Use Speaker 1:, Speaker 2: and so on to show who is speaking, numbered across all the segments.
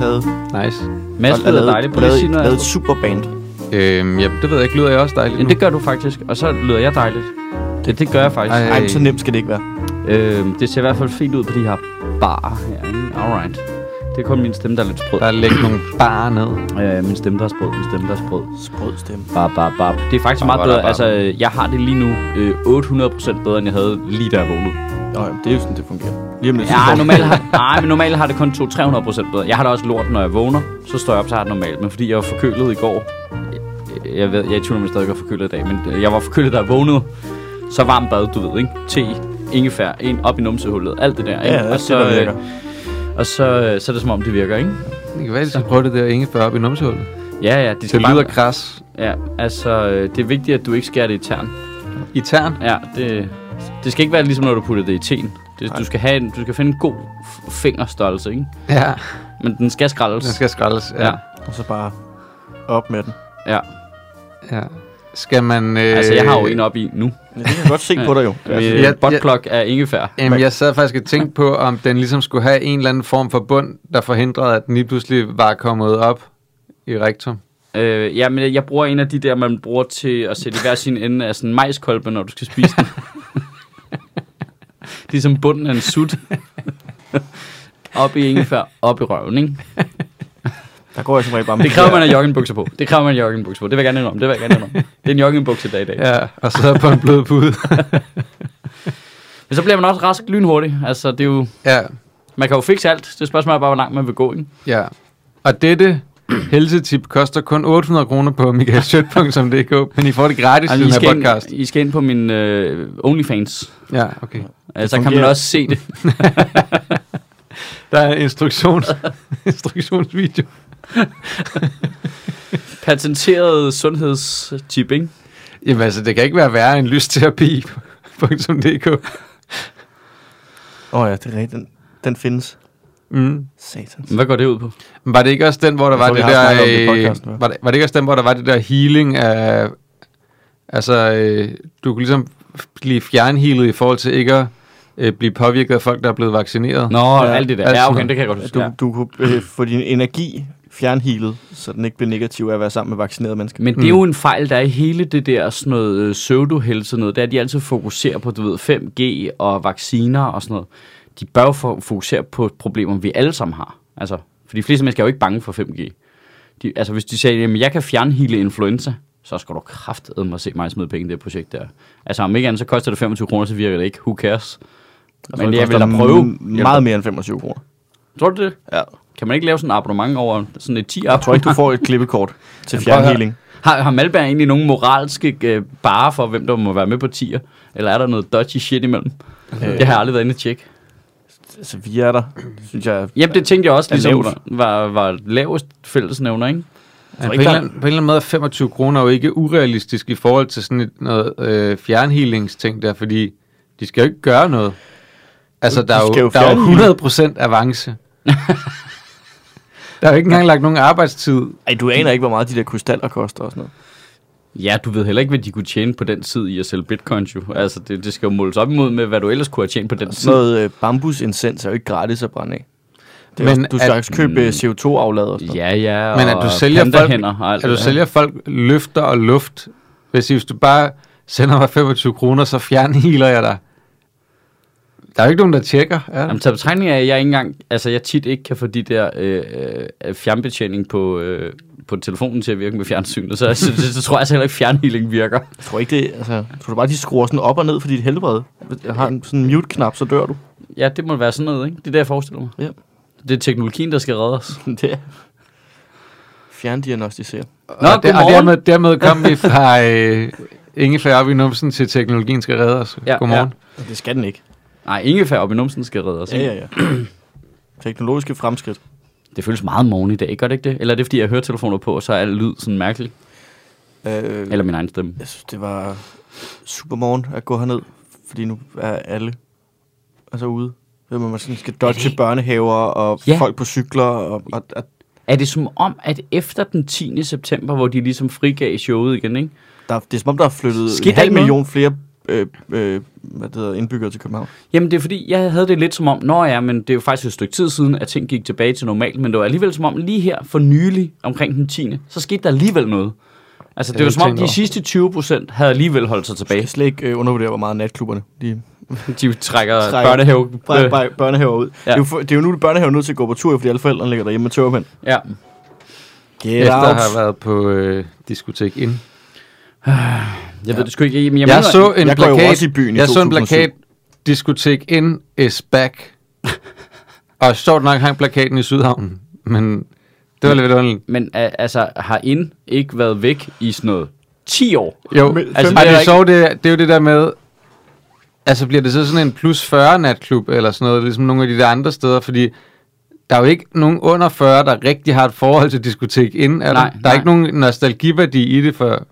Speaker 1: lavet,
Speaker 2: Nice. Mads lyder
Speaker 1: lavet,
Speaker 2: dejligt. Prøv lige at
Speaker 1: lavet,
Speaker 2: sige noget.
Speaker 1: lavet et
Speaker 2: Astrup.
Speaker 1: superband.
Speaker 3: Øhm, ja, det ved jeg ikke. Lyder jeg også dejligt
Speaker 2: Jamen,
Speaker 3: nu?
Speaker 2: det gør du faktisk, og så lyder jeg dejligt. Det, det gør jeg faktisk.
Speaker 3: Ej.
Speaker 1: Ej, men så nemt skal det ikke være.
Speaker 2: Øhm, det ser i hvert fald fint ud på de her bar her. Ikke? Alright. Det er kun min stemme, der er lidt sprød.
Speaker 3: Der er lægge nogle bare ned.
Speaker 2: Øh, min stemme, der er sprød. Min stemme, der er sprød.
Speaker 1: Sprød stemme.
Speaker 2: Bar, bar, bar. Det er faktisk
Speaker 3: Bar,
Speaker 2: meget
Speaker 3: bar,
Speaker 2: bedre.
Speaker 3: bar.
Speaker 2: Altså, øh, jeg har det lige nu øh, 800% bedre, end jeg havde lige da jeg vågnede.
Speaker 1: Nå, jamen, det er jo sådan, det fungerer. Lige om lidt. så får
Speaker 2: Ja,
Speaker 1: vi-
Speaker 2: normalt har, nej, men normalt har det kun 200-300% bedre. Jeg har det også lort, når jeg vågner. Så står jeg op, så har jeg det normalt. Men fordi jeg var forkølet i går... Jeg, jeg ved, jeg er i tvivl om, jeg stadig var forkølet i dag. Men øh, jeg var forkølet, da jeg vågnede. Så varmt bad, du ved, ikke? Te, ingefær, en op i numsehullet, alt det der, ikke?
Speaker 1: Ja, det er
Speaker 2: og så,
Speaker 1: det, der
Speaker 2: øh,
Speaker 1: virker.
Speaker 2: og så, øh, så er det som om, det virker, ikke?
Speaker 3: Det kan være, at prøve det der ingefær op i numsehullet.
Speaker 2: Ja, ja, de
Speaker 3: Det
Speaker 2: skal
Speaker 3: lyder
Speaker 2: bare...
Speaker 3: kras.
Speaker 2: Ja, altså, øh, det er vigtigt, at du ikke skærer det i tern.
Speaker 3: I tern.
Speaker 2: Ja, det, det skal ikke være ligesom, når du putter det i teen. Det, du, skal have en, du skal finde en god f- fingerstørrelse, ikke?
Speaker 3: Ja,
Speaker 2: Men den skal skraldes.
Speaker 3: den skal skraldes. Ja.
Speaker 2: Ja.
Speaker 1: Og så bare op med den.
Speaker 2: Ja,
Speaker 3: ja. Skal man... Øh,
Speaker 2: altså jeg har jo en op i nu.
Speaker 1: Ja, det kan jeg godt se på dig jo.
Speaker 2: Med
Speaker 3: jeg-
Speaker 2: jeg, buttplug af ingefær.
Speaker 3: Jamen, jeg sad faktisk og tænkte på, om den ligesom skulle have en eller anden form for bund, der forhindrede, at den lige pludselig var kommet op i rektum.
Speaker 2: Øh, ja, men jeg bruger en af de der, man bruger til at sætte i hver sin ende af sådan en majskolbe, når du skal spise den. det er som bunden af en sut. op i ingefær, op i røven, ikke?
Speaker 1: Altså, Der går jeg som regel bare med.
Speaker 2: Det kræver man af joggingbukser på. Det kræver man af joggingbukser på. Det vil jeg gerne indrømme. Det vil jeg gerne indrømme. Det er en joggingbukse dag i dag.
Speaker 3: Ja, og så på en blød pude.
Speaker 2: Men så bliver man også rask lynhurtigt. Altså, det er jo...
Speaker 3: ja,
Speaker 2: Man kan jo fikse alt. Det spørgsmål er bare, hvor langt man vil gå, ikke?
Speaker 3: ja. Og dette helsetip koster kun 800 kroner på michaelschødt.dk, men I får det gratis i
Speaker 2: Altså,
Speaker 3: den
Speaker 2: I,
Speaker 3: her
Speaker 2: skal
Speaker 3: podcast.
Speaker 2: ind, I skal ind på min øh, OnlyFans.
Speaker 3: Ja, okay.
Speaker 2: Altså, kan man
Speaker 1: fungerer.
Speaker 2: også se det.
Speaker 3: Der er en instruktions, instruktionsvideo.
Speaker 2: Patenteret sundhedstip, ikke?
Speaker 3: Jamen altså, det kan ikke være værre end lysterapi.dk.
Speaker 1: Åh oh, ja, det er rigtigt. Den, den findes.
Speaker 3: Mm.
Speaker 1: Satans.
Speaker 2: Hvad går det ud på?
Speaker 3: Var det ikke også den, hvor der
Speaker 1: Jeg
Speaker 3: var
Speaker 1: tror, vi
Speaker 3: det
Speaker 1: har
Speaker 3: der...
Speaker 1: snakket om det i
Speaker 3: øh,
Speaker 1: podcasten, hva'?
Speaker 3: var, det, var det ikke også den, hvor der var det der healing af... Altså, øh, du kunne ligesom blive fjernhealet i forhold til ikke at øh, blive påvirket af folk, der er blevet vaccineret.
Speaker 2: Nå, ja, alt det der.
Speaker 3: altså-
Speaker 2: Ja, okay, det kan jeg godt
Speaker 1: At
Speaker 2: huske.
Speaker 1: du,
Speaker 2: Ja.
Speaker 1: du kunne øh, få din energi fjernhealet, så den ikke bliver negativ af at være sammen med vaccinerede mennesker.
Speaker 2: Men det er jo en fejl, der er i hele det der sådan noget øh, pseudohelse noget. Der er, at de altid fokuserer på, du ved, 5G og vacciner og sådan noget. De bør jo fo- fokusere på problemer, vi alle sammen har. Altså, for de fleste mennesker er jo ikke bange for 5G. De, altså, hvis de sagde, at jeg kan fjernhile influenza, så skal du kraftedeme at se mig smide penge i det projekt der. Altså, om ikke andet, så koster det 25 kroner, så virker det ikke. Who cares?
Speaker 1: Og så
Speaker 2: Men jeg vil
Speaker 1: Altså, koster
Speaker 2: da
Speaker 1: den
Speaker 2: prøve.
Speaker 1: m- Meget mere end 25 kroner.
Speaker 2: Tror du det?
Speaker 1: Ja.
Speaker 2: Kan man ikke lave sådan en abonnement over sådan et 10
Speaker 1: Jeg tror ikke, du får et klippekort til
Speaker 3: prøv at høre.
Speaker 1: fjernhealing.
Speaker 2: Har, har Malberg egentlig nogen moralske øh, bare for, hvem der må være med på tier? Eller er der noget dodgy shit imellem? Øh. Jeg har aldrig været inde og tjekke.
Speaker 1: Altså, vi er der, synes jeg.
Speaker 2: Jamen, det tænkte jeg også,
Speaker 1: Er
Speaker 2: ligesom
Speaker 1: lavt.
Speaker 2: var, var, var lavest fællesnævner, ikke?
Speaker 3: Ja, på, en
Speaker 1: ikke,
Speaker 3: eller
Speaker 1: der-
Speaker 3: anden, på en eller anden måde er 25 kroner jo ikke urealistisk i forhold til sådan et noget øh, fjernhealingsting der, fordi de skal jo ikke gøre noget. Altså,
Speaker 1: De
Speaker 3: der er
Speaker 1: skal
Speaker 3: jo,
Speaker 1: jo
Speaker 3: der er jo
Speaker 1: fjernheale.
Speaker 3: 100% avance. der er jo ikke engang lagt nogen arbejdstid.
Speaker 1: Ej, du aner ikke, hvor meget de der krystaller koster og sådan noget.
Speaker 2: Ja, du ved heller ikke, hvad de kunne tjene på den tid i at sælge bitcoins, jo. Altså, det, det skal jo måles op imod med, hvad du ellers kunne have tjent på den tid.
Speaker 1: Sådan noget øh, bambusintens er jo ikke gratis at brænde af. Det er
Speaker 3: Men
Speaker 1: Men også, du skal
Speaker 3: at-
Speaker 1: også købe øh, CO2-aflader og sådan noget.
Speaker 2: Ja, ja,
Speaker 3: Men at
Speaker 2: og
Speaker 3: du sælger folk,
Speaker 2: pandahænder og alt
Speaker 3: at du
Speaker 2: det der.
Speaker 3: sælger folk løfter og luft. Hvis, hvis du bare sender mig 25 kroner, så fjernhealer jeg dig. Der er jo ikke nogen, der tjekker. Er der?
Speaker 2: Jamen, tager betragtning af, at jeg ikke engang, altså jeg tit ikke kan få de der øh, øh, fjernbetjening på, øh, på telefonen til at virke med fjernsynet, så, så, så, så tror jeg altså heller ikke, fjernhealing virker.
Speaker 1: Jeg tror ikke det, altså, jeg tror du bare, de skruer sådan op og ned for dit helbred? Jeg har en sådan en mute-knap, så dør du.
Speaker 2: Ja, det må være sådan noget, ikke? Det er det, jeg forestiller mig.
Speaker 1: Ja.
Speaker 2: Det er teknologien, der skal redde os.
Speaker 1: det er fjerndiagnostisere.
Speaker 2: Nå,
Speaker 3: og, der, og
Speaker 2: godmorgen.
Speaker 3: dermed, dermed kom vi fra øh, Ingefær op i numsen til teknologien skal redde os.
Speaker 2: Ja,
Speaker 3: Godmorgen.
Speaker 1: Men Det skal den ikke.
Speaker 2: Nej, ingefær op i numsen skal redde os.
Speaker 1: Ja,
Speaker 2: ikke?
Speaker 1: ja, ja. Teknologiske fremskridt.
Speaker 2: Det føles meget morgen i dag, gør det ikke det? Eller er det, fordi jeg hører telefoner på, og så er alt lyd sådan mærkeligt?
Speaker 1: Øh,
Speaker 2: Eller min egen stemme.
Speaker 1: Jeg synes, det var super morgen at gå herned, fordi nu er alle altså ude. Ved man, man sådan skal dodge børnehaver og
Speaker 2: Ja.
Speaker 1: ja. folk på cykler. Og, og, og,
Speaker 2: Er det som om, at efter den 10. september, hvor de ligesom frigav showet igen, ikke?
Speaker 1: der, det er som om, der er flyttet
Speaker 2: Skete
Speaker 1: en
Speaker 2: der
Speaker 1: halv
Speaker 2: ikke noget?
Speaker 1: million flere øh, øh, hvad det hedder, indbyggere til København.
Speaker 2: Jamen det er fordi, jeg havde det lidt som om, nå ja, men det er jo faktisk et stykke tid siden, at ting gik tilbage til normalt, men det var alligevel som om lige her for nylig, omkring den 10. så skete der alligevel noget. Altså
Speaker 3: Jeg
Speaker 2: det var
Speaker 3: har
Speaker 2: som om
Speaker 3: ikke
Speaker 2: de
Speaker 3: tænkt
Speaker 2: sidste 20 procent havde alligevel holdt sig
Speaker 1: Jeg
Speaker 2: tilbage.
Speaker 1: kan slet ikke øh, undervurdere, hvor meget natklubberne de
Speaker 2: De trækker,
Speaker 1: Trækker.
Speaker 2: Øh, børnehave.
Speaker 1: brænder bare børnehaver ud. Ja.
Speaker 2: Ja.
Speaker 1: Det, er jo, for- det er jo nu, at børnehaver er nødt til at gå på tur, fordi alle forældrene ligger derhjemme med tørmænd.
Speaker 2: Ja.
Speaker 1: Get
Speaker 3: Efter at
Speaker 1: out.
Speaker 3: have været på øh, diskotek ind.
Speaker 2: Jeg ved det sgu ikke. Jamen, jeg,
Speaker 3: Jeg, jeg
Speaker 2: mener-
Speaker 3: så en
Speaker 1: Jeg går jo
Speaker 3: plakat.
Speaker 1: også i byen i
Speaker 3: jeg så en
Speaker 1: 2007.
Speaker 3: plakat. Diskotek in is back. og sjovt nok hang plakaten i Sydhavnen. Men det var lidt underligt.
Speaker 2: Men uh, altså, har ind ikke været væk i sådan noget 10 år?
Speaker 3: Jo,
Speaker 1: Men
Speaker 3: altså,
Speaker 1: fem-
Speaker 3: ej, det,
Speaker 2: er
Speaker 3: er
Speaker 2: ikke-
Speaker 3: sjovt, det, er- det er jo det der med, altså bliver det så sådan en plus 40 natklub eller sådan noget, ligesom nogle af de der andre steder, fordi der er jo ikke nogen under 40, der rigtig har et forhold til diskotek ind. Er der?
Speaker 2: Nej,
Speaker 3: der er
Speaker 2: nej.
Speaker 3: ikke nogen nostalgiværdi i det for,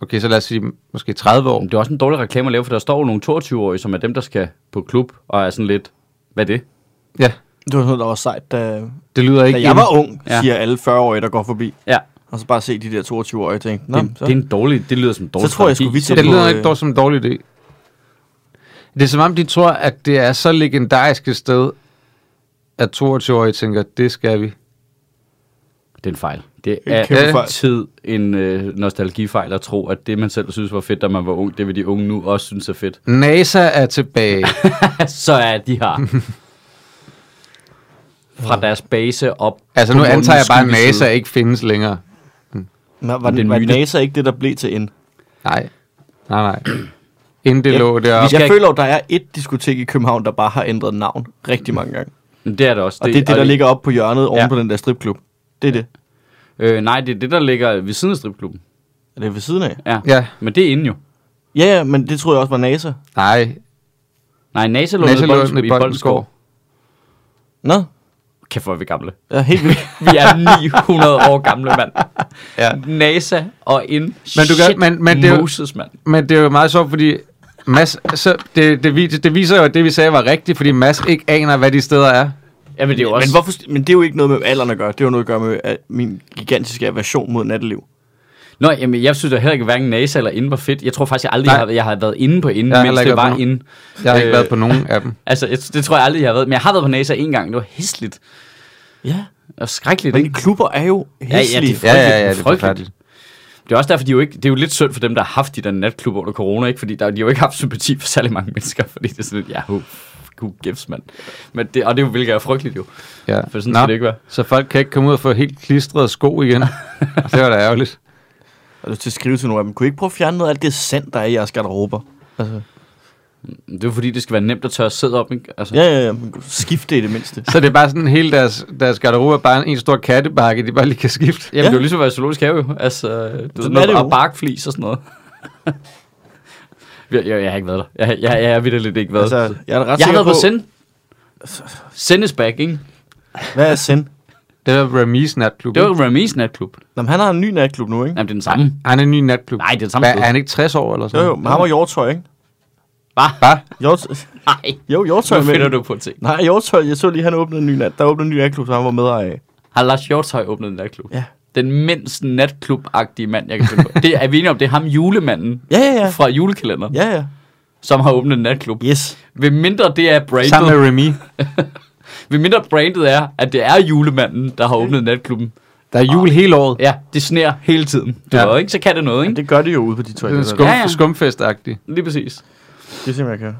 Speaker 3: okay, så lad os sige, måske 30 år.
Speaker 2: Men det er også en dårlig reklame at lave, for der står jo nogle 22-årige, som er dem, der skal på klub, og er sådan lidt, hvad er det?
Speaker 3: Ja,
Speaker 1: Det var sådan noget, der var sejt, da,
Speaker 3: det lyder ikke
Speaker 1: da jeg
Speaker 3: ind.
Speaker 1: var ung,
Speaker 2: Ja.
Speaker 1: siger alle 40-årige, der går forbi.
Speaker 2: Ja,
Speaker 1: Og så bare se de der 22-årige og tænke, Nå,
Speaker 2: det,
Speaker 1: så.
Speaker 2: det, er en dårlig, det lyder som en dårlig
Speaker 1: tror jeg sgu, vi tager
Speaker 2: strategi.
Speaker 3: Det
Speaker 1: på,
Speaker 3: lyder
Speaker 1: øh,
Speaker 3: ikke dog som en dårlig idé. Det er som om, de tror, at det er så legendarisk et sted, at 22-årige tænker, det skal vi.
Speaker 2: Det er en fejl. Det
Speaker 1: En kæmpe
Speaker 2: er
Speaker 1: fejl.
Speaker 2: altid en øh, nostalgifejl at tro, at det, man selv synes var fedt, da man var ung, det vil de unge nu også synes er fedt.
Speaker 3: NASA er tilbage.
Speaker 2: Så er de her. Fra deres base op.
Speaker 3: altså
Speaker 2: på
Speaker 3: nu
Speaker 2: månens
Speaker 3: antager jeg bare, at
Speaker 2: skyggeside.
Speaker 3: NASA ikke findes længere.
Speaker 1: Nå, var,
Speaker 2: det er
Speaker 1: det,
Speaker 2: en
Speaker 1: var
Speaker 2: myte.
Speaker 1: NASA ikke det, der blev til en?
Speaker 3: Nej. Nej, nej. Inden det lå
Speaker 1: jeg,
Speaker 3: deroppe.
Speaker 1: jeg
Speaker 2: skal-
Speaker 1: føler jo, der er et diskotek i København, der bare har ændret navn rigtig mange gange.
Speaker 2: Men Det er det også.
Speaker 1: Og det er det, der ligger oppe på hjørnet oven
Speaker 2: Ja.
Speaker 1: på den der stripklub. Det er det.
Speaker 2: Øh, nej, det er det, der ligger ved siden af stripklubben.
Speaker 1: Er det ved siden af?
Speaker 2: Ja.
Speaker 3: Ja.
Speaker 2: Men det er inde jo.
Speaker 1: Ja, ja, men det troede jeg også var NASA.
Speaker 3: Nej,
Speaker 2: Nej, NASA lå
Speaker 3: NASA
Speaker 2: nede
Speaker 3: lå nede i
Speaker 2: i Boldenskov.
Speaker 3: Boldenskov.
Speaker 1: Nå,
Speaker 2: Kæft, hvor er vi gamle.
Speaker 1: ja, helt vildt.
Speaker 2: Vi er 900 år gamle, mand.
Speaker 3: Ja.
Speaker 2: NASA og ind.
Speaker 3: Men du kan-
Speaker 2: Shit,
Speaker 3: men- men det er jo-
Speaker 2: Moses, mand.
Speaker 3: Men det er jo meget sjovt, fordi Mads, så det, det, viser, det viser jo, at det vi sagde var rigtigt, fordi Mads ikke aner, hvad de steder er.
Speaker 2: Ja, men det er jo også...
Speaker 1: Men, hvorfor, men det er jo ikke noget med alderen at gøre. Det er jo noget at gøre med at min gigantiske aversion mod natteliv.
Speaker 2: Nå, jamen, jeg synes da heller ikke, hverken NASA eller inde var fedt. Jeg tror faktisk, jeg aldrig
Speaker 3: Nej.
Speaker 2: har, jeg har været inde på inde,
Speaker 3: Jeg har
Speaker 2: mens
Speaker 3: heller ikke
Speaker 2: det
Speaker 3: været
Speaker 2: var
Speaker 3: på
Speaker 2: inde.
Speaker 3: Jeg har øh, ikke
Speaker 2: Øh,
Speaker 3: været på nogen af dem.
Speaker 2: Altså, jeg, det tror jeg aldrig, jeg har været. Men jeg har været på NASA en gang. Det var hæsligt.
Speaker 1: Ja.
Speaker 2: Og skrækkeligt,
Speaker 1: Men
Speaker 2: ikke?
Speaker 1: klubber er jo
Speaker 2: ja,
Speaker 1: hæslige.
Speaker 2: det er
Speaker 3: Ja, ja, ja,
Speaker 2: frygteligt,
Speaker 3: det er
Speaker 2: frygteligt.
Speaker 3: forfærdeligt.
Speaker 2: Det er også derfor, de er jo ikke, det er jo lidt synd for dem, der har haft de der natklubber under corona, ikke? Fordi der, de har jo ikke haft sympati for særlig mange mennesker, fordi det er sådan lidt, ja, who, who gives, mand. Men det, og det er jo, hvilket er frygteligt jo.
Speaker 3: Ja.
Speaker 2: For sådan skal det ikke være.
Speaker 3: Så folk kan ikke komme ud og få helt klistrede sko igen. det var da ærgerligt.
Speaker 1: Jeg har lyst til at skrive til nogle af dem. Kunne I ikke prøve at fjerne noget af alt det sand, der er i jeres garderober? Altså,
Speaker 2: Det er jo fordi, det skal være nemt at tørre sæd op, ikke? Altså,
Speaker 1: ja, ja, ja. men Skifte i det mindste.
Speaker 3: Så det er bare sådan, hele deres, deres garderobe er bare en, en stor kattebakke, de bare lige kan skifte.
Speaker 1: Ja.
Speaker 2: Jamen, det er jo ligesom at være i zoologisk have, jo. Altså, du ved,
Speaker 1: Sådan er det
Speaker 2: noget,
Speaker 1: jo.
Speaker 2: og barkflis og sådan noget. jeg, jeg, jeg, har ikke været der. Jeg, jeg, jeg har vildt ikke været
Speaker 1: Altså,
Speaker 2: altså,
Speaker 1: jeg er da ret
Speaker 2: Jeg har
Speaker 1: sikker
Speaker 2: været på,
Speaker 1: på,
Speaker 2: send. Send is back, ikke?
Speaker 1: Hvad er Sen?
Speaker 3: Det var Ramis natklub.
Speaker 2: Det
Speaker 3: ikke?
Speaker 2: var Ramis natklub.
Speaker 1: Jamen, han har en ny natklub nu, ikke?
Speaker 2: Jamen, det er den samme.
Speaker 3: Han er en ny natklub.
Speaker 2: Nej, det er den samme
Speaker 3: Hvad,
Speaker 2: sted.
Speaker 3: er han ikke 60 år eller
Speaker 1: Jo,
Speaker 3: sådan
Speaker 1: jo, men ham og Hjortøj, ikke?
Speaker 3: Bare,
Speaker 1: Hjort...
Speaker 2: Nej,
Speaker 1: Jo, Hjortøj
Speaker 2: så finder
Speaker 1: med.
Speaker 2: du på ting.
Speaker 1: Nej, Hjortøj, jeg så lige, han åbnede en ny nat. Der åbnede en ny natklub, så han var medejer af.
Speaker 2: Har Lars Hjortøj åbnet en natklub?
Speaker 1: Ja.
Speaker 2: Den mindst natklub-agtige mand, jeg kan finde på. Det er vi enige om, det er ham julemanden
Speaker 1: Ja, ja, ja.
Speaker 2: fra julekalenderen,
Speaker 1: Ja, ja.
Speaker 2: som har åbnet en natklub.
Speaker 1: Yes.
Speaker 2: Ved mindre det er brandet,
Speaker 3: sammen med Remy.
Speaker 2: ved mindre brandet er, at det er julemanden, der har åbnet natklubben.
Speaker 3: Der er jul hele året.
Speaker 2: Ja, det sner hele tiden. Du
Speaker 3: Ja.
Speaker 2: ja. ved, ikke? Så kan det noget, ikke?
Speaker 1: Men det gør de jo ude på de
Speaker 3: Det er
Speaker 1: toiletter.
Speaker 3: skum,
Speaker 2: Ja,
Speaker 3: ja,
Speaker 2: ja.
Speaker 3: ja. skumfestagtig.
Speaker 2: Lige præcis.
Speaker 1: Det er simpelthen, jeg kan.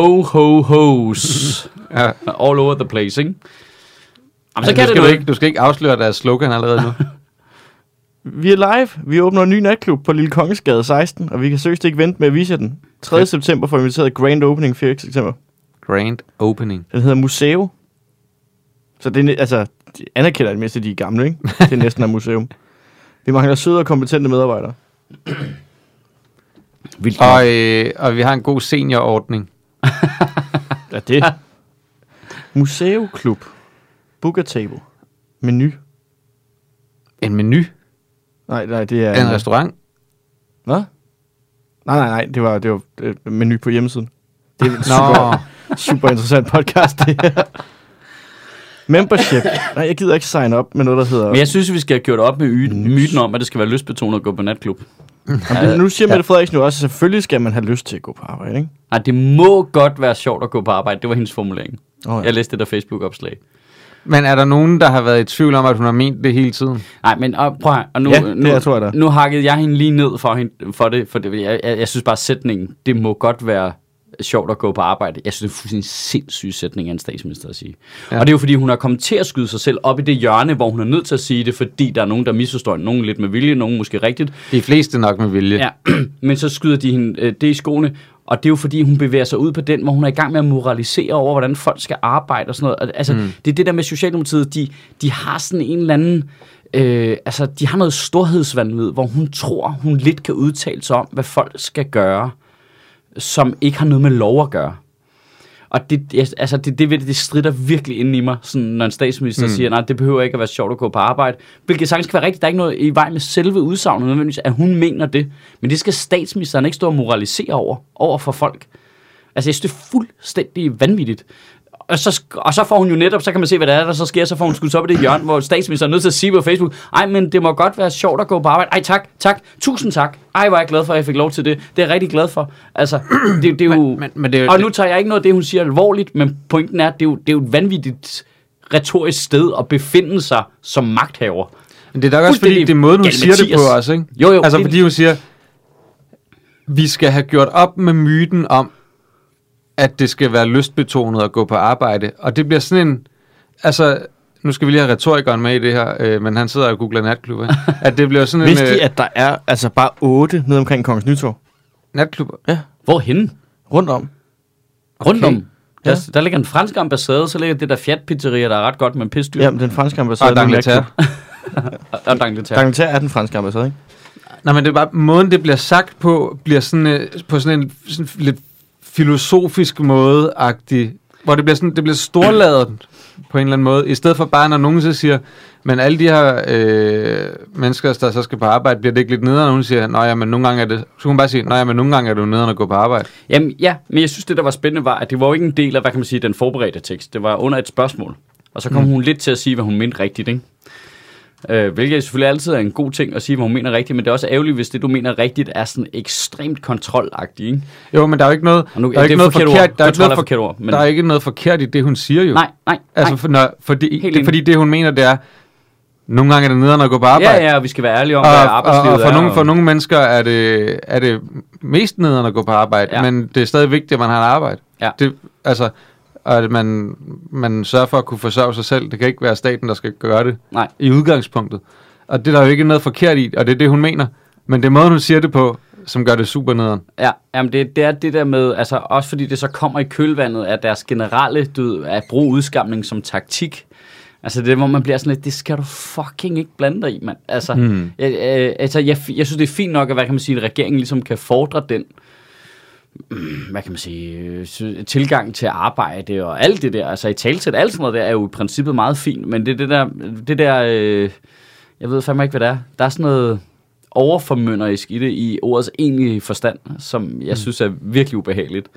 Speaker 2: Ho, ho, hos.
Speaker 3: Ja.
Speaker 2: All over the place, ikke? Jamen, så
Speaker 3: Altså,
Speaker 2: kan
Speaker 3: du,
Speaker 2: det
Speaker 3: skal
Speaker 2: noget.
Speaker 3: ikke, du skal ikke afsløre deres slogan allerede nu.
Speaker 1: Vi er live. Vi åbner en ny natklub på Lille Kongesgade 16, og vi kan seriøst ikke vente med at vise jer den. 3.
Speaker 3: Fedt.
Speaker 1: september får vi inviteret Grand Opening 4. september.
Speaker 3: Grand opening.
Speaker 1: Den hedder Museo. Så det er, næ- altså, de anerkender i det mindste, at de er gamle, ikke? Det er næsten et museum. Vi mangler søde og kompetente medarbejdere.
Speaker 2: Vildt.
Speaker 3: Og, øh, og vi har en god seniorordning.
Speaker 1: Ja, det. Museoklub. Book a table. Menu.
Speaker 3: En menu
Speaker 1: Nej, nej, det er...
Speaker 3: af en restaurant.
Speaker 1: Hvad? Nej, nej, nej, det var, det var øh, menu på hjemmesiden. Det er en
Speaker 3: Nå,
Speaker 1: super, super interessant podcast, det her. Membership. Nej, jeg gider ikke sign op med noget, der hedder...
Speaker 2: Men jeg synes, vi skal have gjort op med y- myten om, at det skal være lystbetonet at gå på natklub.
Speaker 1: Jamen, nu siger Mette Frederiksen jo også, at selvfølgelig skal man have lyst til at gå på arbejde, ikke?
Speaker 2: Nej, det må godt være sjovt at gå på arbejde. Det var hendes formulering.
Speaker 1: Åh,
Speaker 2: Oh,
Speaker 1: ja.
Speaker 2: Jeg læste det der Facebook-opslag.
Speaker 3: Men er der nogen, der har været i tvivl om, at hun har ment det hele tiden?
Speaker 2: Nej, men og, prøv at høre, og nu,
Speaker 1: Ja, det
Speaker 2: nu,
Speaker 1: jeg tror jeg da.
Speaker 2: nu hakkede jeg hende lige ned for, hende, for det, for det, jeg, jeg, jeg synes bare, sætningen, det må godt være sjovt at gå på arbejde. Jeg synes, det er en fuldstændig sindssyg sætning af en statsminister at sige. Ja. Og det er jo fordi, hun har kommet til at skyde sig selv op i det hjørne, hvor hun er nødt til at sige det, fordi der er nogen, der misforstår hende. Nogen lidt med vilje, nogen måske rigtigt.
Speaker 3: De fleste nok med vilje.
Speaker 2: Ja, men så skyder de hende øh, det i skoene, og det er jo fordi, hun bevæger sig ud på den, hvor hun er i gang med at moralisere over, hvordan folk skal arbejde og sådan noget. Og, Altså, mm. det er det der med Socialdemokratiet, de, de har sådan en eller anden, øh, altså, de har noget storhedsvandvid, hvor hun tror, hun lidt kan udtale sig om, hvad folk skal gøre, som ikke har noget med lov at gøre. Og det, jeg- altså, det, det, ved det, det strider virkelig ind i mig, sådan, når en statsminister mm. siger, nej, det behøver ikke at være sjovt at gå på arbejde. Hvilket sagtens kan være rigtigt. Der er ikke noget i vej med selve udsagnet, nødvendigvis, at hun mener det. Men det skal statsministeren ikke stå og moralisere over, over for folk. Altså, jeg synes, det er fuldstændig vanvittigt. Og så, sk- og så får hun jo netop, så kan man se, hvad der er, der så sker, så får hun skudt sig op i det hjørne, hvor statsministeren er nødt til at sige på Facebook, ej, men det må godt være sjovt at gå på arbejde. Ej, tak, tak, tusind tak. Ej, hvor er jeg glad for, at jeg fik lov til det. Det er jeg rigtig glad for. Altså, det, det er jo...
Speaker 3: Men- men- men det er jo-
Speaker 2: og nu tager jeg ikke noget af det, hun siger alvorligt, men pointen er, at det er jo, det er jo et vanvittigt retorisk sted at befinde sig som magthaver.
Speaker 3: Men det er nok også fordi,
Speaker 2: Fuldstændig
Speaker 3: det er måden, hun siger
Speaker 2: galimatias.
Speaker 3: det på også, ikke?
Speaker 2: Jo, jo,
Speaker 3: Altså,
Speaker 2: det-
Speaker 3: fordi hun siger, vi skal have gjort op med myten om, at det skal være lystbetonet at gå på arbejde. Og det bliver sådan en... Altså, nu skal vi lige have retorikeren med i det her, øh, men han sidder og googler natklub, ikke? At det bliver sådan en... øh,
Speaker 1: Vidste de, at der er altså bare otte nede omkring Kongens Nytorv?
Speaker 3: natklub...
Speaker 2: Hvorhen?
Speaker 1: Rundt om.
Speaker 2: Rundt
Speaker 3: Okay.
Speaker 2: om. Der,
Speaker 1: Ja.
Speaker 2: der ligger en fransk ambassade, så ligger det der Fiat-pizzeria, der er ret godt med pisdyr.
Speaker 1: Jamen, den franske ambassade.
Speaker 3: Og
Speaker 1: den er
Speaker 3: D'Angleterre.
Speaker 1: ikke-
Speaker 2: Og, og D'Angleterre.
Speaker 1: D'Angleterre er den franske ambassade, ikke?
Speaker 3: Nej, men det er bare, måden det bliver sagt på, bliver sådan, øh, på sådan en sådan lidt filosofisk måde -agtig, hvor det bliver, sådan, det bliver storladet på en eller anden måde, i stedet for bare, når nogen så siger, men alle de her øh, mennesker, der så skal på arbejde, bliver det ikke lidt nederen, når hun siger, nej, ja, men nogle gange er det, så kunne hun bare sige, nej, ja, men nogle gange er det jo nederen at gå på arbejde.
Speaker 2: Jamen ja, men jeg synes, det der var spændende var, at det var jo ikke en del af, hvad kan man sige, den forberedte tekst. Det var under et spørgsmål. Og så kom mm. hun lidt til at sige, hvad hun mente rigtigt, ikke? Øh, hvilket selvfølgelig altid er en god ting at sige, hvad hun mener rigtigt, men det er også ærgerligt, hvis det, du mener rigtigt, er sådan ekstremt kontrolagtigt, ikke?
Speaker 3: Jo, men der er jo ikke noget,
Speaker 2: Og nu-
Speaker 3: der er
Speaker 2: ja,
Speaker 3: ikke
Speaker 2: det er
Speaker 3: noget
Speaker 2: forkert ord.
Speaker 3: forkert, der er
Speaker 2: Jeg
Speaker 3: ikke
Speaker 2: tror,
Speaker 3: noget
Speaker 2: der er
Speaker 3: for-
Speaker 2: forkert ord, men-
Speaker 3: der er ikke noget forkert i det, hun siger jo.
Speaker 2: Nej, nej,
Speaker 3: altså,
Speaker 2: nej.
Speaker 3: for, når, fordi, det,
Speaker 2: enig.
Speaker 3: er fordi det, hun mener, det er, nogle gange er det nederen at gå på arbejde.
Speaker 2: Ja, ja, og vi skal være ærlige om, hvad
Speaker 3: Og, og,
Speaker 2: arbejdslivet
Speaker 3: og for,
Speaker 2: er.
Speaker 3: nogle, for
Speaker 2: og-
Speaker 3: nogle mennesker er det, er det mest nederen at gå på arbejde,
Speaker 2: Ja.
Speaker 3: ja. men det er stadig vigtigt, at man har et arbejde.
Speaker 2: Ja.
Speaker 3: Det, altså, og at man, man sørger for at kunne forsørge sig selv. Det kan ikke være staten, der skal gøre det
Speaker 2: Nej.
Speaker 3: i udgangspunktet. Og det er der jo ikke noget forkert i, og det er det, hun mener. Men det er måden, hun siger det på, som gør det super nederen.
Speaker 2: Ja, jamen det, det er det der med, altså også fordi det så kommer i kølvandet af deres generelle død, at bruge udskamning som taktik. Altså det, er, hvor man bliver sådan lidt, det skal du fucking ikke blande dig i, mand. Altså,
Speaker 3: Hmm.
Speaker 2: mm. jeg, øh, altså jeg, jeg synes, det er fint nok, at hvad kan man sige, at regeringen ligesom kan fordre den, hvad kan man sige, øh, sy- tilgang til arbejde og alt det der, altså i talsæt, alt sådan noget der er jo i princippet meget fint, men det er det der, det der øh, jeg ved fandme ikke, hvad det er, der er sådan noget overformynderisk i det, i ordets egentlige forstand, som jeg synes er virkelig ubehageligt.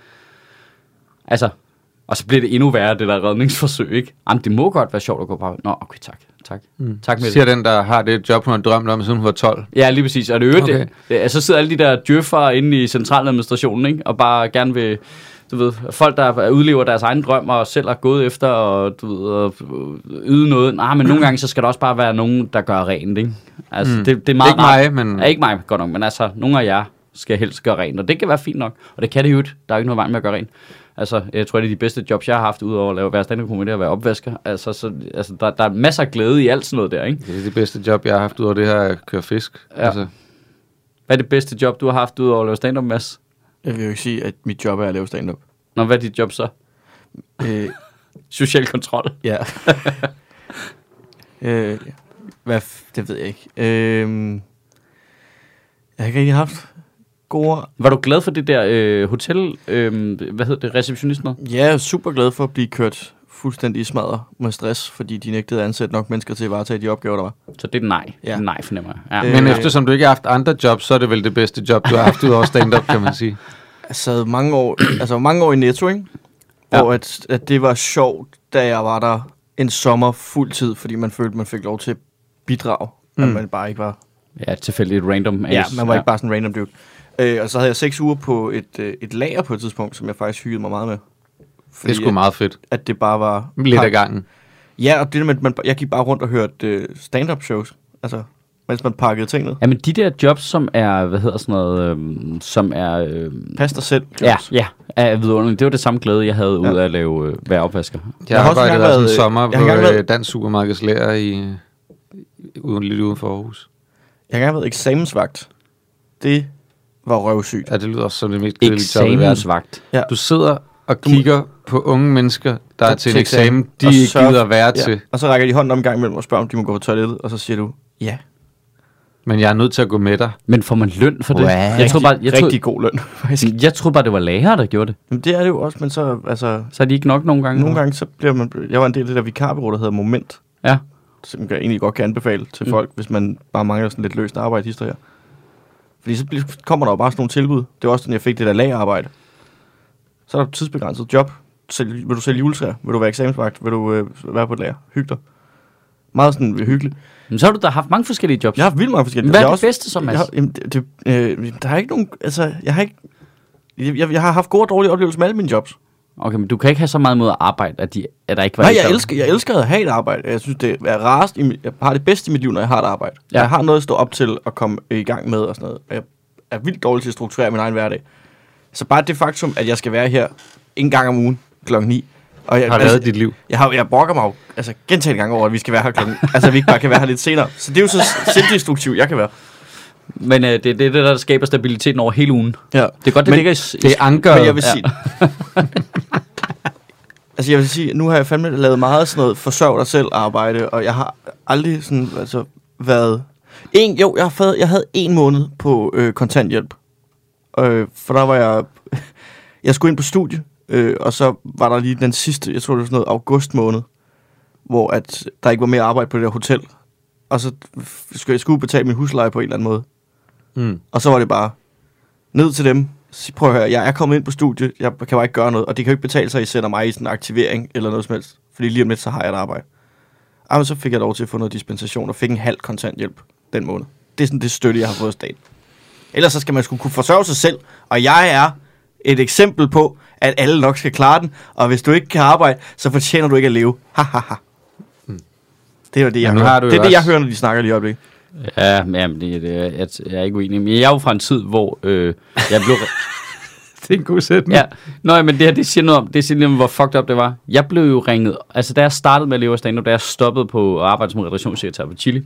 Speaker 2: Altså, og så bliver det endnu værre, det der redningsforsøg, ikke? Jamen, det må godt være sjovt at gå på arbejde. Nå, okay, tak. Tak. Mm. Tak med
Speaker 3: Siger den, der har det job, hun har drømt om, siden hun var 12.
Speaker 2: Ja, lige præcis. Og det øvrigt, okay.
Speaker 3: Okay.
Speaker 2: det, ja, så sidder alle de der djøffere inde i centraladministrationen, ikke? og bare gerne vil, du ved, folk, der udlever deres egen drøm, og selv har gået efter, og du ved, og øh, yde noget. Nej, men nogle gange, så skal der også bare være nogen, der gør rent, ikke? Altså, mm. det, det er meget
Speaker 3: Ikke
Speaker 2: rart.
Speaker 3: mig, men-
Speaker 2: Ja, ikke mig, godt nok, men altså, nogle af jer skal helst gøre rent, og det kan være fint nok, og det kan det jo ikke. Der er jo ikke noget vej med at gøre rent. Altså, jeg tror, det er de bedste jobs, jeg har haft, udover at lave, være stand up og være opvasker. Altså, så, altså der, der er masser af glæde i alt sådan noget der, ikke?
Speaker 3: Det er det bedste job, jeg har haft ud over det her at køre fisk. Altså.
Speaker 2: Ja. Hvad er det bedste job, du har haft, udover at lave stand-up, Mads?
Speaker 1: Jeg vil jo ikke sige, at mit job er at lave stand-up.
Speaker 2: Nå, hvad er dit job så?
Speaker 1: Øh,
Speaker 2: Social kontrol.
Speaker 1: ja. øh, hvad f- det ved jeg ikke. Øh, jeg har ikke rigtig haft gode...
Speaker 2: Var du glad for det der øh, hotel, øh, hvad hedder det, receptionist noget?
Speaker 1: Ja, jeg er super glad for at blive kørt fuldstændig i smadret med stress, fordi de nægtede at ansætte nok mennesker til at varetage de opgaver, der var.
Speaker 2: Så det er nej.
Speaker 1: Ja.
Speaker 2: Ja. Nej, fornemmer jeg. Ja,
Speaker 1: Øh,
Speaker 3: Men eftersom du ikke har haft andre jobs, så er det vel det bedste job, du har haft ud over stand-up, kan man sige.
Speaker 1: Jeg sad mange år, altså mange år i Netto, ikke?
Speaker 2: Ja.
Speaker 1: Hvor at, at det var sjovt, da jeg var der en sommer fuldtid, fordi man følte, man fik lov til at bidrage, mm. at man bare ikke var
Speaker 2: Ja, tilfældigt random.
Speaker 1: Ja,
Speaker 2: ass.
Speaker 1: man var ikke bare sådan en random dude. Øh, og så havde jeg seks uger på et, øh, et lager på et tidspunkt, som jeg faktisk hyggede mig meget med.
Speaker 3: Det er sgu
Speaker 1: at,
Speaker 3: meget fedt.
Speaker 1: at det bare var...
Speaker 3: Lidt af gangen.
Speaker 1: Ja, og det der med, at man, jeg gik bare rundt og hørte øh, stand-up shows, altså, mens man pakkede ting ned.
Speaker 2: Ja, men de der jobs, som er, hvad hedder sådan noget, øhm, som er... Øhm,
Speaker 1: Pas dig selv.
Speaker 2: ja,
Speaker 1: jobs.
Speaker 2: ja, er vidunderligt. Det var det samme glæde, jeg havde ud af at lave øh, være opvasker.
Speaker 3: Jeg, jeg
Speaker 1: har
Speaker 3: har
Speaker 1: også
Speaker 3: arbejdet
Speaker 1: engang
Speaker 3: der som
Speaker 1: været-
Speaker 3: sommer
Speaker 1: jeg har engang
Speaker 3: på
Speaker 1: været-
Speaker 3: øh, Dansk Supermarkedslærer i, øh, uden, lidt uden for Aarhus.
Speaker 1: Jeg har engang været eksamensvagt. Det var røvsygt.
Speaker 3: Ja, det lyder også som det mest kedelige job i verden.
Speaker 2: Eksamensvagt.
Speaker 3: Du sidder og kigger på unge mennesker, der er til en
Speaker 1: til eksamen,
Speaker 3: eksamen, de
Speaker 1: og
Speaker 3: ikke
Speaker 1: sørger-
Speaker 3: gider være
Speaker 1: Ja.
Speaker 3: til.
Speaker 1: Og så rækker de hånden om en gang imellem og spørger, om de må gå på toilettet, og så siger du, ja.
Speaker 3: Men jeg er nødt til at gå med dig.
Speaker 2: Men får man løn for det?
Speaker 3: Wow.
Speaker 2: Jeg troede bare, jeg troede,
Speaker 1: Rigtig god løn, faktisk.
Speaker 2: jeg troede bare, det var lærere, der gjorde det.
Speaker 1: Jamen, det er det jo også, men så, altså,
Speaker 2: Så er de ikke nok nogle gange.
Speaker 1: nogle gange, så bliver man, jeg var en del af det der vikarbureau, der hedder Moment,
Speaker 2: Ja.
Speaker 1: som jeg egentlig godt kan anbefale
Speaker 2: Mm.
Speaker 1: til folk, hvis man bare mangler sådan lidt løst arbejde historier. Fordi så bliver- kommer der jo bare sådan nogle tilbud. Det var også sådan, jeg fik det der lagerarbejde. Så er der tidsbegrænset job. Sælg, vil du sælge juletræer? Vil du være eksamensvagt? Vil du øh, være på et lager? Hyg dig. Meget sådan øh, hyggeligt.
Speaker 2: Men så har du da haft mange forskellige jobs.
Speaker 1: Jeg har haft vildt mange forskellige.
Speaker 2: Hvad
Speaker 1: Jeg
Speaker 2: er det
Speaker 1: også-
Speaker 2: bedste så, Mads?
Speaker 1: Jeg, har- jamen, det, det, øh, der er ikke nogen... Altså, jeg har ikke... Jeg, jeg, jeg har haft gode og dårlige oplevelser med alle mine jobs.
Speaker 2: Okay, men du kan ikke have så meget mod at arbejde, at, de, at der ikke var
Speaker 1: Nej,
Speaker 2: et
Speaker 1: jeg
Speaker 2: job.
Speaker 1: elsker, jeg elsker at have et arbejde. Jeg synes, det er rarest. i mit- Jeg har det bedste i mit liv, når jeg har et arbejde.
Speaker 2: Ja.
Speaker 1: Ja. Jeg har noget at stå op til at komme i gang med og sådan noget. Jeg er vildt dårlig til at strukturere min egen hverdag. Så bare det faktum, at jeg skal være her en gang om ugen klokken 9. Og jeg,
Speaker 3: Har
Speaker 1: altså,
Speaker 3: reddet dit liv.
Speaker 1: jeg, har, jeg brokker mig jo altså, gentagende gange over, at vi skal være her klokken. altså, at vi ikke bare kan være her lidt senere. Så det er jo så selvdestruktivt, jeg kan være.
Speaker 2: Men øh, det, det er det, der skaber stabiliteten over hele ugen.
Speaker 1: Ja.
Speaker 2: Det er godt, det
Speaker 1: Men
Speaker 2: ligger i... s- i
Speaker 3: Det er ankeret.
Speaker 1: Men jeg vil sige... altså, jeg vil sige, nu har jeg fandme lavet meget af sådan noget forsørg dig selv arbejde, og jeg har aldrig sådan, altså, været... En, jo, jeg, har fået, jeg havde en måned på øh, kontanthjælp. Øh, for der var jeg... Jeg skulle ind på studie, øh, og så var der lige den sidste, jeg tror det var sådan noget august måned, hvor at der ikke var mere arbejde på det der hotel. Og så skulle jeg skulle betale min husleje på en eller anden måde.
Speaker 3: Mm.
Speaker 1: Og så var det bare ned til dem. Sig, prøv at høre, jeg er kommet ind på studiet, jeg kan bare ikke gøre noget, og det kan jo ikke betale sig, at I sender mig i sådan en aktivering eller noget som helst, fordi lige om lidt, så har jeg et arbejde. Ej, men så fik jeg lov til at få noget dispensation og fik en halv kontanthjælp den måned. Det er sådan det støtte, jeg har fået af staten. Ellers så skal man skulle kunne forsørge sig selv, og jeg er et eksempel på, at alle nok skal klare den, og hvis du ikke kan arbejde, så fortjener du ikke at leve. Hahaha. Hmm. det er jo det, jeg,
Speaker 3: Men nu
Speaker 1: hører.
Speaker 3: har du
Speaker 1: det, er
Speaker 3: jo
Speaker 1: det, jeg
Speaker 3: også-
Speaker 1: hører, når de snakker lige i øjeblikket.
Speaker 2: Ja, men jamen, det, det, jeg, jeg er ikke uenig. Men jeg er jo fra en tid, hvor øh, jeg blev...
Speaker 3: Det er en god sætning.
Speaker 2: ja. Nå, ja, men det her, det siger noget om, det siger noget om, hvor fucked up det var. Jeg blev jo ringet... Altså, da jeg startede med at leve af stand-up, da jeg stoppede på at arbejde som redaktionssekretær på Chili,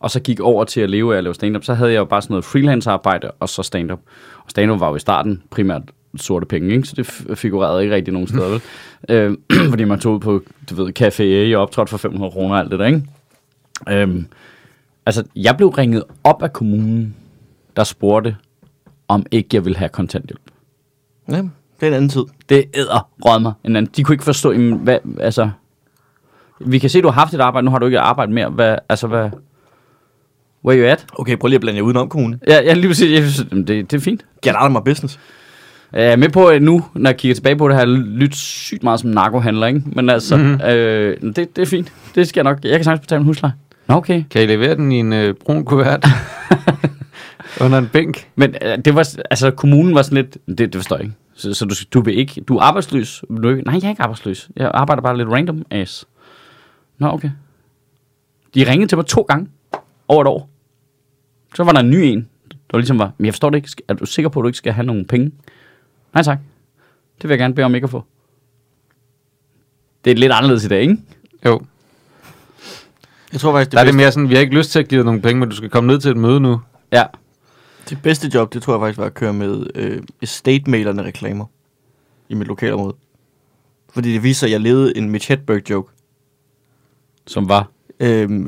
Speaker 2: og så gik over til at leve af at lave stand-up, så havde jeg jo bare sådan noget freelance-arbejde, og så stand-up. Og stand-up var jo i starten primært sorte penge, ikke? så det f- figurerede ikke rigtig nogen steder, vel? Øh, fordi man tog ud på, du ved, café og optrådte for 500 kroner og alt det der, ikke? Øhm, altså, jeg blev ringet op af kommunen, der spurgte, om ikke jeg ville have kontanthjælp.
Speaker 1: Ja, det er en anden tid.
Speaker 2: Det æder rød mig. En anden. De kunne ikke forstå, jamen, hvad, altså... Vi kan se, du har haft et arbejde, nu har du ikke et arbejde mere. Hvad, altså, hvad... Where you at?
Speaker 1: Okay, prøv lige at blande jer udenom kommunen.
Speaker 2: Ja, jeg lige præcis, jeg, synes, jamen, det, det er fint.
Speaker 1: Get out of my business.
Speaker 2: Jeg er med på, at nu, når jeg kigger tilbage på det, har jeg lyttet sygt meget som narkohandler, ikke? Men altså, mm-hmm. øh, det, det er fint. Det skal jeg nok. Jeg kan sagtens betale min husleje. Nå, okay.
Speaker 3: Kan I levere den i en øh, brun kuvert? Under en bænk?
Speaker 2: Men øh, det var, altså kommunen var sådan lidt, det, det forstår jeg ikke. Så, så du, du vil ikke, du er arbejdsløs. Vil Du ikke, nej, jeg er ikke arbejdsløs. Jeg arbejder bare lidt random ass. Nå, okay. De ringede til mig to gange over et år. Så var der en ny en, der ligesom var, men jeg forstår det ikke. Skal- Er du sikker på, at du ikke skal have nogen penge? Nej tak. Det vil jeg gerne bede om ikke at få. Det er lidt anderledes i dag, ikke?
Speaker 3: Jo.
Speaker 1: Jeg tror faktisk,
Speaker 3: Der er det mere sådan, vi har ikke lyst til at give dig nogle penge, men du skal komme ned til et møde nu.
Speaker 2: Ja.
Speaker 1: Det bedste job, det tror jeg faktisk var at køre med øh, estate-mailerne reklamer i mit lokalområde. Fordi det viser, at jeg levede en Mitch Hedberg joke.
Speaker 2: Som var.
Speaker 1: Øhm,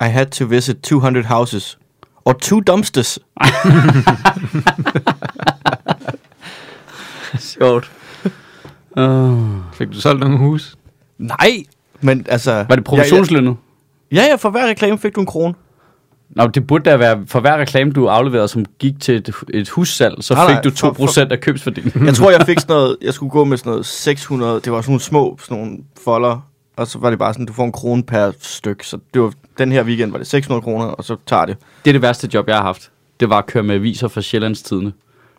Speaker 1: I had to visit 200 houses. Or two dumpsters.
Speaker 2: Sjovt. Uh,
Speaker 3: Fik du solgt nogle hus?
Speaker 1: Nej! Men altså...
Speaker 2: var det provisionslønnet?
Speaker 1: Ja, ja, ja, for hver reklame fik du en krone.
Speaker 2: Nå, det burde da være, for hver reklame, du afleverede, som gik til et, et hussalg, så
Speaker 1: Nej,
Speaker 2: fik
Speaker 1: nej,
Speaker 2: du
Speaker 1: for- for-
Speaker 2: 2% af købsværdien.
Speaker 1: Jeg tror, jeg fik sådan noget... Jeg skulle gå med sådan noget 600... Det var sådan nogle små sådan nogle folder Og så var det bare sådan, du får en krone per styk. Så det var, den her weekend var det 600 kroner, og så tager det.
Speaker 2: Det er det værste job, jeg har haft. Det var at køre med aviser fra Sjællandstidene.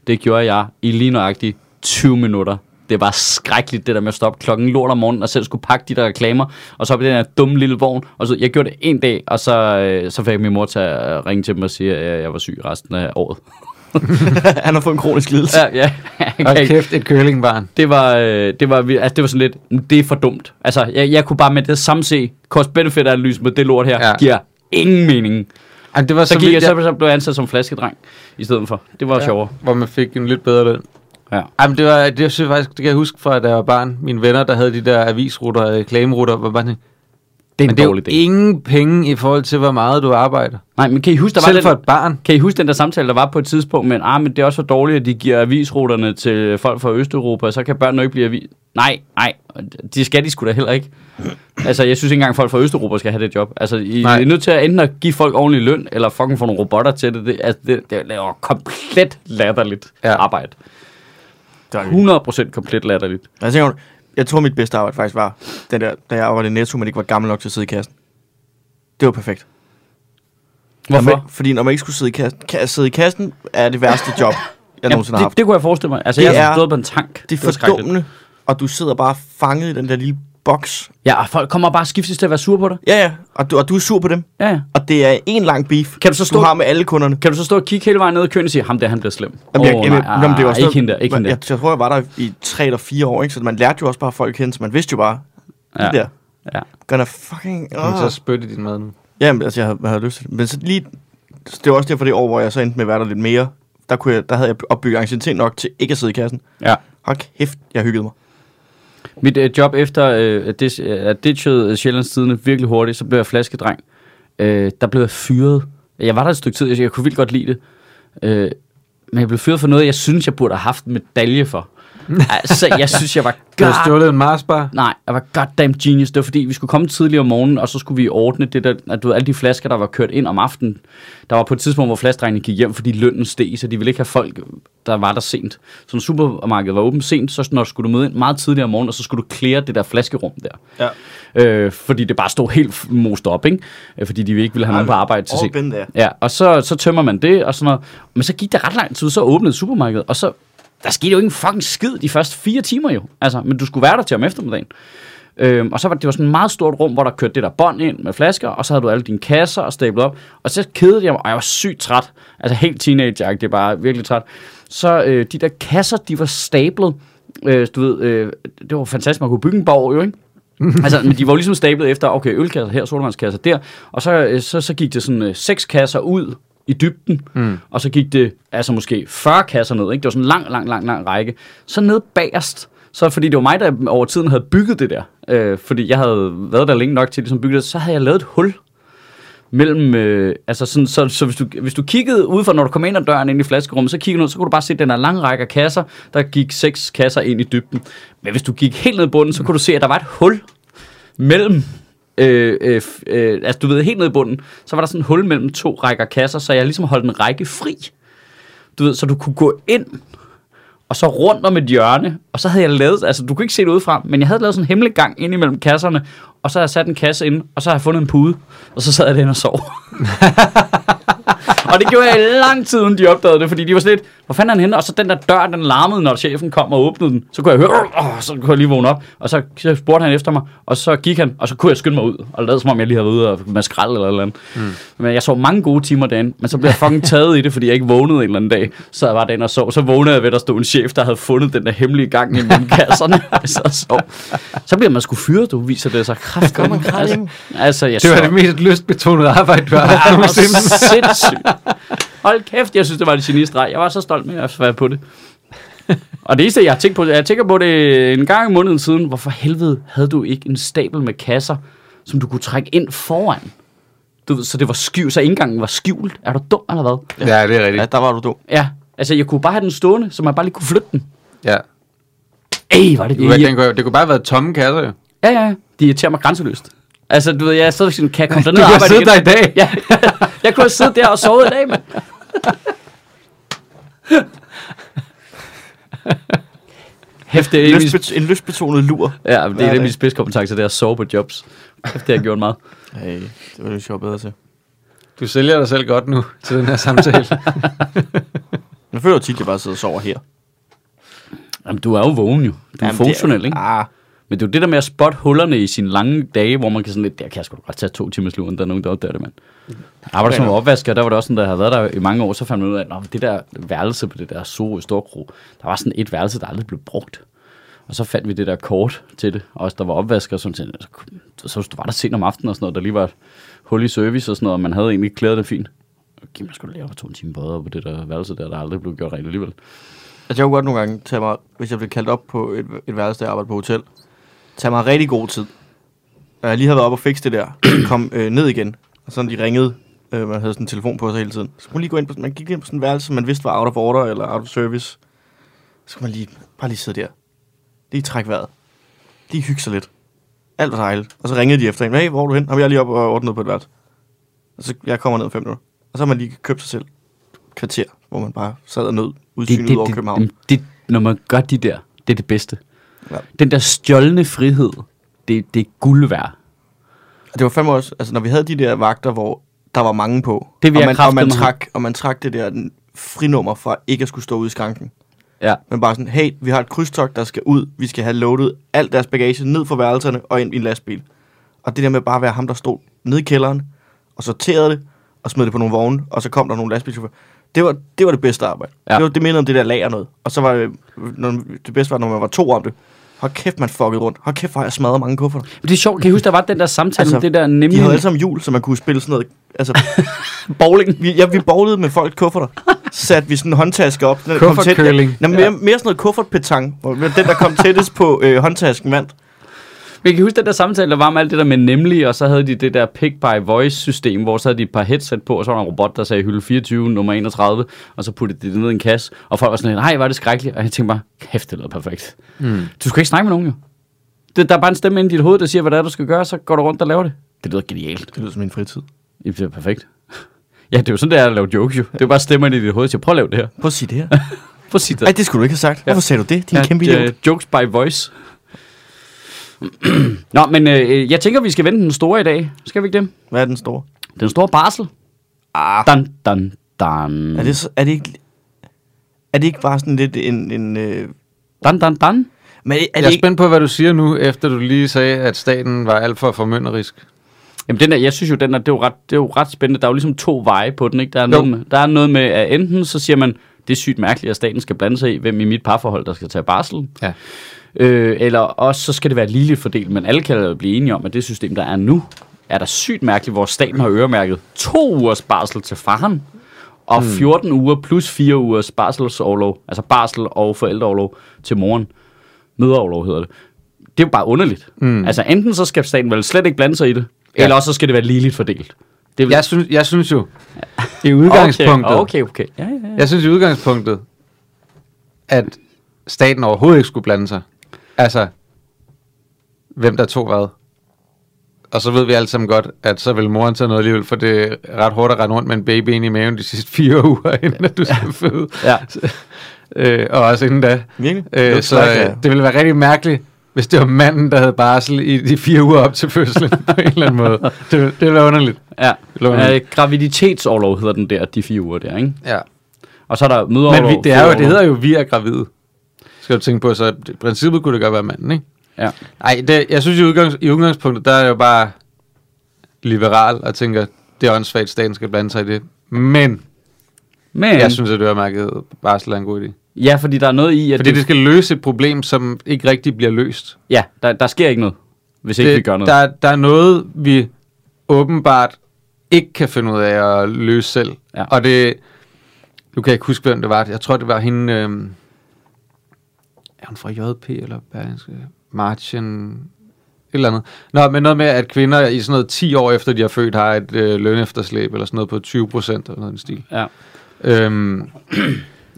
Speaker 2: Det gjorde jeg i lige nøjagtigt 20 minutter. Det var skrækkeligt, det der med at stoppe klokken lort om morgenen, og selv skulle pakke de der reklamer, og så op i den her dumme lille vogn. Og så, jeg gjorde det en dag, og så, øh, så fik min mor til at øh, ringe til mig og sige, at jeg- jeg var syg resten af året.
Speaker 1: Han har fået en kronisk lidelse.
Speaker 2: Ja, ja. Jeg
Speaker 3: Og
Speaker 2: kan ikke-
Speaker 3: kæft, et curlingbarn.
Speaker 2: det var, øh, det var, vi- altså det var sådan lidt, det er for dumt. Altså, jeg, jeg kunne bare med det samme se, cost benefit analyse med det lort her, ja.
Speaker 3: Ja.
Speaker 2: giver ingen mening.
Speaker 3: Ej, det var
Speaker 2: Så,
Speaker 3: så,
Speaker 2: gik
Speaker 3: vildt,
Speaker 2: jeg, så, så blev jeg ansat som flaskedreng i stedet for. Det var ja. sjovere.
Speaker 3: hvor man fik en lidt bedre løn.
Speaker 2: Ja.
Speaker 3: Ej, men det, var, det, synes jeg faktisk, det kan jeg huske fra, da jeg var barn. Mine venner, der havde de der øh, avisruter og reklameruter, var bare sådan,
Speaker 2: Det er
Speaker 3: men
Speaker 2: en
Speaker 3: det er jo
Speaker 2: dårlig idé.
Speaker 3: ingen penge i forhold til, hvor meget du arbejder.
Speaker 2: Nej, men kan I huske, der var
Speaker 3: Selv
Speaker 2: den,
Speaker 3: for et barn.
Speaker 2: kan I huske den der samtale, der var på et tidspunkt, men, ah, men det er også for dårligt, at de giver avisruterne til folk fra Østeuropa, og så kan børnene jo ikke blive avis... Nej, nej, det skal de sgu da heller ikke. Altså, jeg synes ikke engang, folk fra Østeuropa skal have det job. Altså, I nej.
Speaker 3: Nej.
Speaker 2: er nødt til at enten at give folk ordentlig løn, eller fucking få nogle robotter til det. Det, altså, det, det laver komplet latterligt ja.
Speaker 3: Ja.
Speaker 2: arbejde.
Speaker 1: Det var
Speaker 2: 100% komplet latterligt.
Speaker 1: Altså, Jeg, tænker, jeg tror, mit bedste arbejde faktisk var, den der, da jeg arbejdede i Netto, men ikke var gammel nok til at sidde i kassen. Det var perfekt. Når man,
Speaker 2: Hvorfor?
Speaker 1: fordi når man ikke skulle sidde i kassen, ka- sidde i kassen er det værste job, jeg
Speaker 2: Jamen,
Speaker 1: nogensinde har
Speaker 2: det,
Speaker 1: haft.
Speaker 2: det kunne jeg forestille mig. Altså,
Speaker 1: Det
Speaker 2: jeg har
Speaker 1: er-
Speaker 2: stået på en tank.
Speaker 1: Det er
Speaker 2: var skrækkeligt.
Speaker 1: fordummende, og du sidder bare fanget i den der lille boks.
Speaker 2: Ja, og folk kommer bare skiftes til at være sure på dig.
Speaker 1: Ja, ja, og du, og du er sur på dem.
Speaker 2: Ja, ja.
Speaker 1: Og det er en lang beef,
Speaker 2: Kan du så stå-
Speaker 1: du har med alle kunderne.
Speaker 2: Kan du så stå og kigge hele vejen ned i køen og sige, ham der, han bliver slem?
Speaker 1: Jamen, jeg,
Speaker 2: Åh,
Speaker 1: jeg,
Speaker 2: nej,
Speaker 1: jamen, det var
Speaker 2: ah, ikke hende der, ikke hende der.
Speaker 1: jeg, jeg tror, jeg var der i 3 eller 4 år, ikke? så man lærte jo også bare folk hende, så man vidste jo bare, ja.
Speaker 2: Ja.
Speaker 1: det der,
Speaker 2: Ja.
Speaker 1: gonna fucking...
Speaker 3: Men
Speaker 1: Oh.
Speaker 3: så spytte din mad nu.
Speaker 1: Jamen, altså, jeg havde, jeg havde lyst til det. Men så lige, det var også derfor det år, hvor jeg så endte med at være der lidt mere. Der, kunne jeg, der havde jeg opbygget angstinitet nok til ikke at sidde i kassen.
Speaker 2: ja.
Speaker 1: Hold kæft, jeg hyggede mig.
Speaker 2: Mit øh, job efter, øh, at dis- øh, at ditchede Sjællandstidene virkelig hurtigt, så blev jeg flaskedreng. Øh, der blev jeg fyret. Jeg var der et stykke tid, jeg, jeg kunne vildt godt lide det. Øh, men jeg blev fyret for noget, jeg synes, jeg burde have haft en medalje for. altså, jeg synes, jeg var
Speaker 3: Du har
Speaker 2: god
Speaker 3: stjålet en Marsbar.
Speaker 2: Nej, jeg var goddamn genius. Det var fordi, vi skulle komme tidligere om morgenen, og så skulle vi ordne det der, at du ved, alle de flasker, der var kørt ind om aftenen. Der var på et tidspunkt, hvor flaskedrengene gik hjem, fordi lønnen steg, så de ville ikke have folk, der var der sent. Så når supermarkedet var åbent sent, så når skulle du møde ind meget tidligere om morgenen, og så skulle du klære det der flaskerum der.
Speaker 1: Ja.
Speaker 2: Øh, fordi det bare stod helt most op, ikke? Øh, Fordi de ikke ville have nogen på arbejde til
Speaker 1: all
Speaker 2: sent.
Speaker 1: been there.
Speaker 2: Ja, og så, så tømmer man det og sådan noget. Men så gik det ret lang tid, så åbnede supermarkedet, og så der skete jo ikke en fucking skid de første fire timer jo. Altså, men du skulle være der til om eftermiddagen. Øhm, og så var det var sådan et meget stort rum, hvor der kørte det der bånd ind med flasker, og så havde du alle dine kasser og stablet op. Og så kedede jeg mig, og jeg var sygt træt. Altså helt teenager det er bare virkelig træt. Så øh, de der kasser, de var stablet. Øh, du ved, øh, det var fantastisk, man kunne bygge en borg jo, ikke? altså, men de var jo ligesom stablet efter, okay, ølkasser her, solvandskasser der, og så, øh, så, så gik det sådan øh, seks kasser ud i dybden, mm. og så gik det altså måske 40 kasser ned, ikke? det var sådan en lang, lang, lang, lang række. Så ned bagerst, så fordi det var mig, der over tiden havde bygget det der, øh, fordi jeg havde været der længe nok til ligesom bygget det, så havde jeg lavet et hul mellem, øh, altså sådan, så, så hvis, du, hvis du kiggede udefra, når du kom ind ad døren ind i flaskerummet, så kiggede du ud, så kunne du bare se den her lange række af kasser, der gik seks kasser ind i dybden. Men hvis du gik helt ned i bunden, så kunne du se, at der var et hul mellem, øh, øh, f- øh, altså du ved, helt ned i bunden, så var der sådan et hul mellem to rækker kasser, så jeg ligesom holdt en række fri. Du ved, så du kunne gå ind, og så rundt om et hjørne, og så havde jeg lavet, altså du kunne ikke se det udefra, men jeg havde lavet sådan en hemmelig gang ind imellem kasserne, og så havde jeg sat en kasse ind, og så havde jeg fundet en pude, og så sad jeg derinde og sov. og det gjorde jeg i lang tid, inden de opdagede det, fordi de var sådan lidt, hvor fanden er han henne? Og så den der dør, den larmede, når chefen kom og åbnede den. Så kunne jeg høre, åh, så kunne jeg lige vågne op. Og så, så spurgte han efter mig, og så gik han, og så kunne jeg skynde mig ud. Og lade som om jeg lige havde været ude og med skrald eller et eller andet. Mm. Men jeg sov mange gode timer dagen, men så blev jeg fucking taget i det, fordi jeg ikke vågnede en eller anden dag. Så jeg var derinde og sov. Så vågnede jeg ved, at der stod en chef, der havde fundet den der hemmelige gang i mellem kasserne. så, sov. så bliver man sgu fyret, du viser det sig kraft.
Speaker 1: Gør man kraftedeme.
Speaker 2: altså, altså, jeg
Speaker 3: Det var
Speaker 2: sov-
Speaker 3: det mest lystbetonede arbejde, du har haft
Speaker 2: Ja, hvor
Speaker 3: nogensinde.
Speaker 2: sindssygt. Hold kæft, jeg synes, det var en genistreg. Jeg var så stolt med at være på det. Og det eneste, jeg har tænkt på, jeg tænker på det en gang i måneden siden, hvorfor helvede havde du ikke en stabel med kasser, som du kunne trække ind foran? Du, ved, så det var skyv, så indgangen var skjult. Er du dum eller hvad?
Speaker 3: Ja, det er
Speaker 1: Ja,
Speaker 3: rigtigt.
Speaker 1: der var du dum.
Speaker 2: Ja, altså jeg kunne bare have den stående, så man bare lige kunne flytte den.
Speaker 3: Ja.
Speaker 2: Ej, var det
Speaker 3: Det,
Speaker 2: det?
Speaker 3: den kunne, det kunne bare have været tomme kasser, jo.
Speaker 2: Ja, ja, ja. De irriterer mig grænseløst. Altså, du ved, jeg sidder sådan, kan jeg komme derned
Speaker 3: Du
Speaker 2: og
Speaker 3: kunne have
Speaker 2: arbejde
Speaker 3: siddet
Speaker 2: igen?
Speaker 3: der i dag.
Speaker 2: Ja, jeg kunne have siddet der og sovet i dag, mand. Hæft, det er min,
Speaker 1: Lystbet- en lystbetonet lur.
Speaker 2: ja, men det
Speaker 1: Hver
Speaker 2: er en af
Speaker 1: dag.
Speaker 2: mine spidskompetencer, det er at sove på jobs. Hæft, det har jeg gjort meget.
Speaker 1: Hey, det var det sjovt bedre til.
Speaker 3: Du sælger dig selv godt nu til den her samtale.
Speaker 1: Jeg føler tit, at jeg bare sidder og sover her.
Speaker 2: Jamen, du er jo vågen jo. Du er
Speaker 1: Jamen,
Speaker 2: Jamen,
Speaker 1: det
Speaker 2: funktionel, ikke?
Speaker 1: Ah,
Speaker 2: Men det er jo det der med at spotte hullerne i sine lange dage, hvor man kan sådan lidt, der kan jeg sgu da godt tage to timers luren, der er nogen, der opdager det, mand. Jeg arbejder som opvasker, der var det også sådan, der havde været der i mange år, så fandt man ud af, at det der værelse på det der Sorø Storkro, der var sådan et værelse, der aldrig blev brugt. Og så fandt vi det der kort til det, og også der var opvasker, som sådan, så, så hvis du var der sent om aftenen og sådan noget, der lige var et hul i service og sådan noget, og man havde egentlig klædet det fint. Giv mig sgu da lige over to timer bedre på det der værelse der, der aldrig blev gjort rent alligevel.
Speaker 1: Altså, jeg kunne godt nogle gange tage mig, hvis jeg blev kaldt op på et, et værelse, der jeg arbejder på hotel, tage mig rigtig god tid. Når jeg lige havde været op og fikse det der, kom øh, ned igen, og sådan de ringede, øh, man havde sådan en telefon på sig hele tiden. Så kunne man lige gå ind på, man gik lige ind på sådan en værelse, som man vidste var out of order eller out of service. Så kunne man lige, bare lige sidde der. Lige trække vejret. Lige hygge sig lidt. Alt var dejligt. Og så ringede de efter en, hey, hvor er du hen? Jamen, jeg er lige op og ordnet på et værelse. Og så jeg kommer ned om fem minutter. Og så har man lige købt sig selv et kvarter, hvor man bare sad og nød udsynet ud over København.
Speaker 2: Det, det, når man gør de der, det er det bedste.
Speaker 1: Ja.
Speaker 2: Ja. Den der stjålne frihed, det, det er guld værd.
Speaker 1: Og Det var fandme også, altså når vi havde de der vagter, hvor der var mange på,
Speaker 2: Det vil
Speaker 1: og,
Speaker 2: jeg
Speaker 1: man, og, man
Speaker 2: kraftedeme have.
Speaker 1: trak, og man trak det der den, frinummer fra ikke at skulle stå ude i skranken.
Speaker 2: Ja.
Speaker 1: Men bare sådan, hey, vi har et krydstogt, der skal ud, vi skal have loadet alt deres bagage ned fra værelserne og ind i en lastbil. Og det der med bare at være ham, der stod nede i kælderen, og sorterede det, og smed det på nogle vogne, og så kom der nogle lastbilchauffører. Det var, det var det bedste arbejde. Ja.
Speaker 2: Ja.
Speaker 1: Det, var, det mindede om det der lager noget. Og så var det, når, det bedste var, når man var to om det. Hold kæft, man fuckede rundt. Hold kæft, hvor har jeg smadret mange kufferter.
Speaker 2: Men det er sjovt, kan I huske, der var den der samtale altså, om det der
Speaker 1: De
Speaker 2: nemlig
Speaker 1: havde alle sammen hjul, så man kunne spille sådan noget. Altså,
Speaker 2: bowling?
Speaker 1: vi, ja, vi bowlede med folk kufferter. Satte vi sådan en håndtaske op. Den der kom tæt-
Speaker 3: Kuffertcurling.
Speaker 1: Ja, mere, mere sådan noget kuffertpetang. hvor Den, der kom tættest på øh, håndtasken, vandt.
Speaker 2: Men kan I huske den der samtale, der var med alt det der med nemlig, og så havde de det der pick by voice system, hvor så havde de et par headset på, og så var der en robot, der sagde hylde 24, nummer 31, og så puttede de det ned i en kasse, og folk var sådan, nej, var det skrækkeligt, og jeg tænkte bare, kæft, det lød perfekt.
Speaker 1: Hmm.
Speaker 2: Mm. Du skal ikke snakke med nogen, jo. Det, der er bare en stemme inde i dit hoved, der siger, hvad det er, du skal gøre, så går du rundt og laver det. Det lyder genialt.
Speaker 1: Det lyder som min fritid.
Speaker 2: Jamen, det er perfekt. Ja, det er jo sådan, det er at lave jokes jo. Det er bare stemmerne i dit hoved, jeg prøv at lave det her.
Speaker 1: Prøv at sige det her.
Speaker 2: Prøv at sige det.
Speaker 1: Ej, det skulle du ikke have sagt. Hvorfor sagde du det? Din ja, kæmpe
Speaker 2: At, øh,
Speaker 1: idiot.
Speaker 2: Jokes by voice. Nå, men øh, jeg tænker, vi skal vente den store i dag. Skal vi ikke det?
Speaker 1: Hvad er den store?
Speaker 2: Den store barsel. Ah. Dan, dan, dan.
Speaker 1: Er det, så- er det ikke... Er det ikke bare sådan lidt en... en øh,
Speaker 2: Dan, dan, dan.
Speaker 1: men er, er
Speaker 3: Jeg
Speaker 1: det
Speaker 3: er
Speaker 1: ikke...
Speaker 3: spændt på, hvad du siger nu, efter du lige sagde, at staten var alt for formynderisk.
Speaker 2: Jamen, den der, jeg synes jo, den er, det, er jo ret, det er jo ret spændende. Der er jo ligesom to veje på den, ikke? Der er, noget med, der er noget med, at enten så siger man, det er sygt mærkeligt, at staten skal blande sig i, hvem i mit parforhold, der skal tage barsel.
Speaker 3: Ja.
Speaker 2: Øh, eller også så skal det være ligeligt fordelt, men alle kan jo blive enige om, at det system, der er nu, er da sygt mærkeligt, hvor staten har øremærket to ugers barsel til faren,
Speaker 3: Mm.
Speaker 2: og 14 uger plus 4 ugers barselsoverlov, altså barsel og forældreoverlov til moren. Mødeoverlov hedder det. Det er jo bare underligt. Mm. Altså enten så skal staten vel slet ikke blande sig i det, ja.
Speaker 3: Ja.
Speaker 2: eller også så skal det være ligeligt fordelt. Det er vel-
Speaker 3: Jeg synes, jeg synes jo, i udgangspunktet, okay, okay.
Speaker 2: Okay, okay. okay. Ja, ja, ja.
Speaker 3: jeg synes i udgangspunktet, at staten overhovedet ikke skulle blande sig. Altså, hvem der tog hvad. Og så ved vi alle sammen godt, at så vil moren tage noget alligevel, for det er ret hårdt at rende rundt med en baby ind i maven de sidste fire uger, inden at du skal føde.
Speaker 2: Ja.
Speaker 3: Øh, og også inden da.
Speaker 1: Virkelig? Det var
Speaker 3: Øh, så
Speaker 1: klart, ja.
Speaker 3: øh, det ville være rigtig mærkeligt, hvis det var manden, der havde barsel i de fire uger op til fødslen, på en eller anden måde. Det, ville- det ville være underligt.
Speaker 2: ja.
Speaker 3: Lovende.
Speaker 2: Øh, graviditetsoverlov hedder den der, de fire uger der, ikke?
Speaker 3: Ja.
Speaker 2: Og så er der mødeoverlov.
Speaker 3: Men vi, det, er jo, det
Speaker 2: fødeoverlov.
Speaker 3: hedder jo, vi er gravide. Skal du tænke på, så i princippet kunne det godt være manden, ikke?
Speaker 2: Ja.
Speaker 3: Nej, det, jeg synes i, udgangs, i udgangspunktet, der er jeg jo bare liberal og tænker, det er åndssvagt, staten skal blande sig i det. Men
Speaker 2: Men,
Speaker 3: jeg synes, at øremærket barsel er en god idé.
Speaker 2: ja, fordi der er noget i, at
Speaker 3: Fordi
Speaker 2: du-
Speaker 3: det skal løse et problem, som ikke rigtig bliver løst.
Speaker 2: Ja, der, der sker ikke noget, hvis ikke vi gør noget.
Speaker 3: Der, der er noget, vi åbenbart ikke kan finde ud af at løse selv.
Speaker 2: Ja.
Speaker 3: Og det, nu kan jeg ikke huske, hvem det var. Jeg tror, det var hende, øhm, er hun fra JP eller Berlingske? Martin, et eller andet. Nå, men noget med, at kvinder i sådan noget 10 år efter, de har født, har et øh, lønefterslæb eller sådan noget på 20 procent eller noget i den stil.
Speaker 2: Ja.
Speaker 3: Øhm,
Speaker 2: Jamen,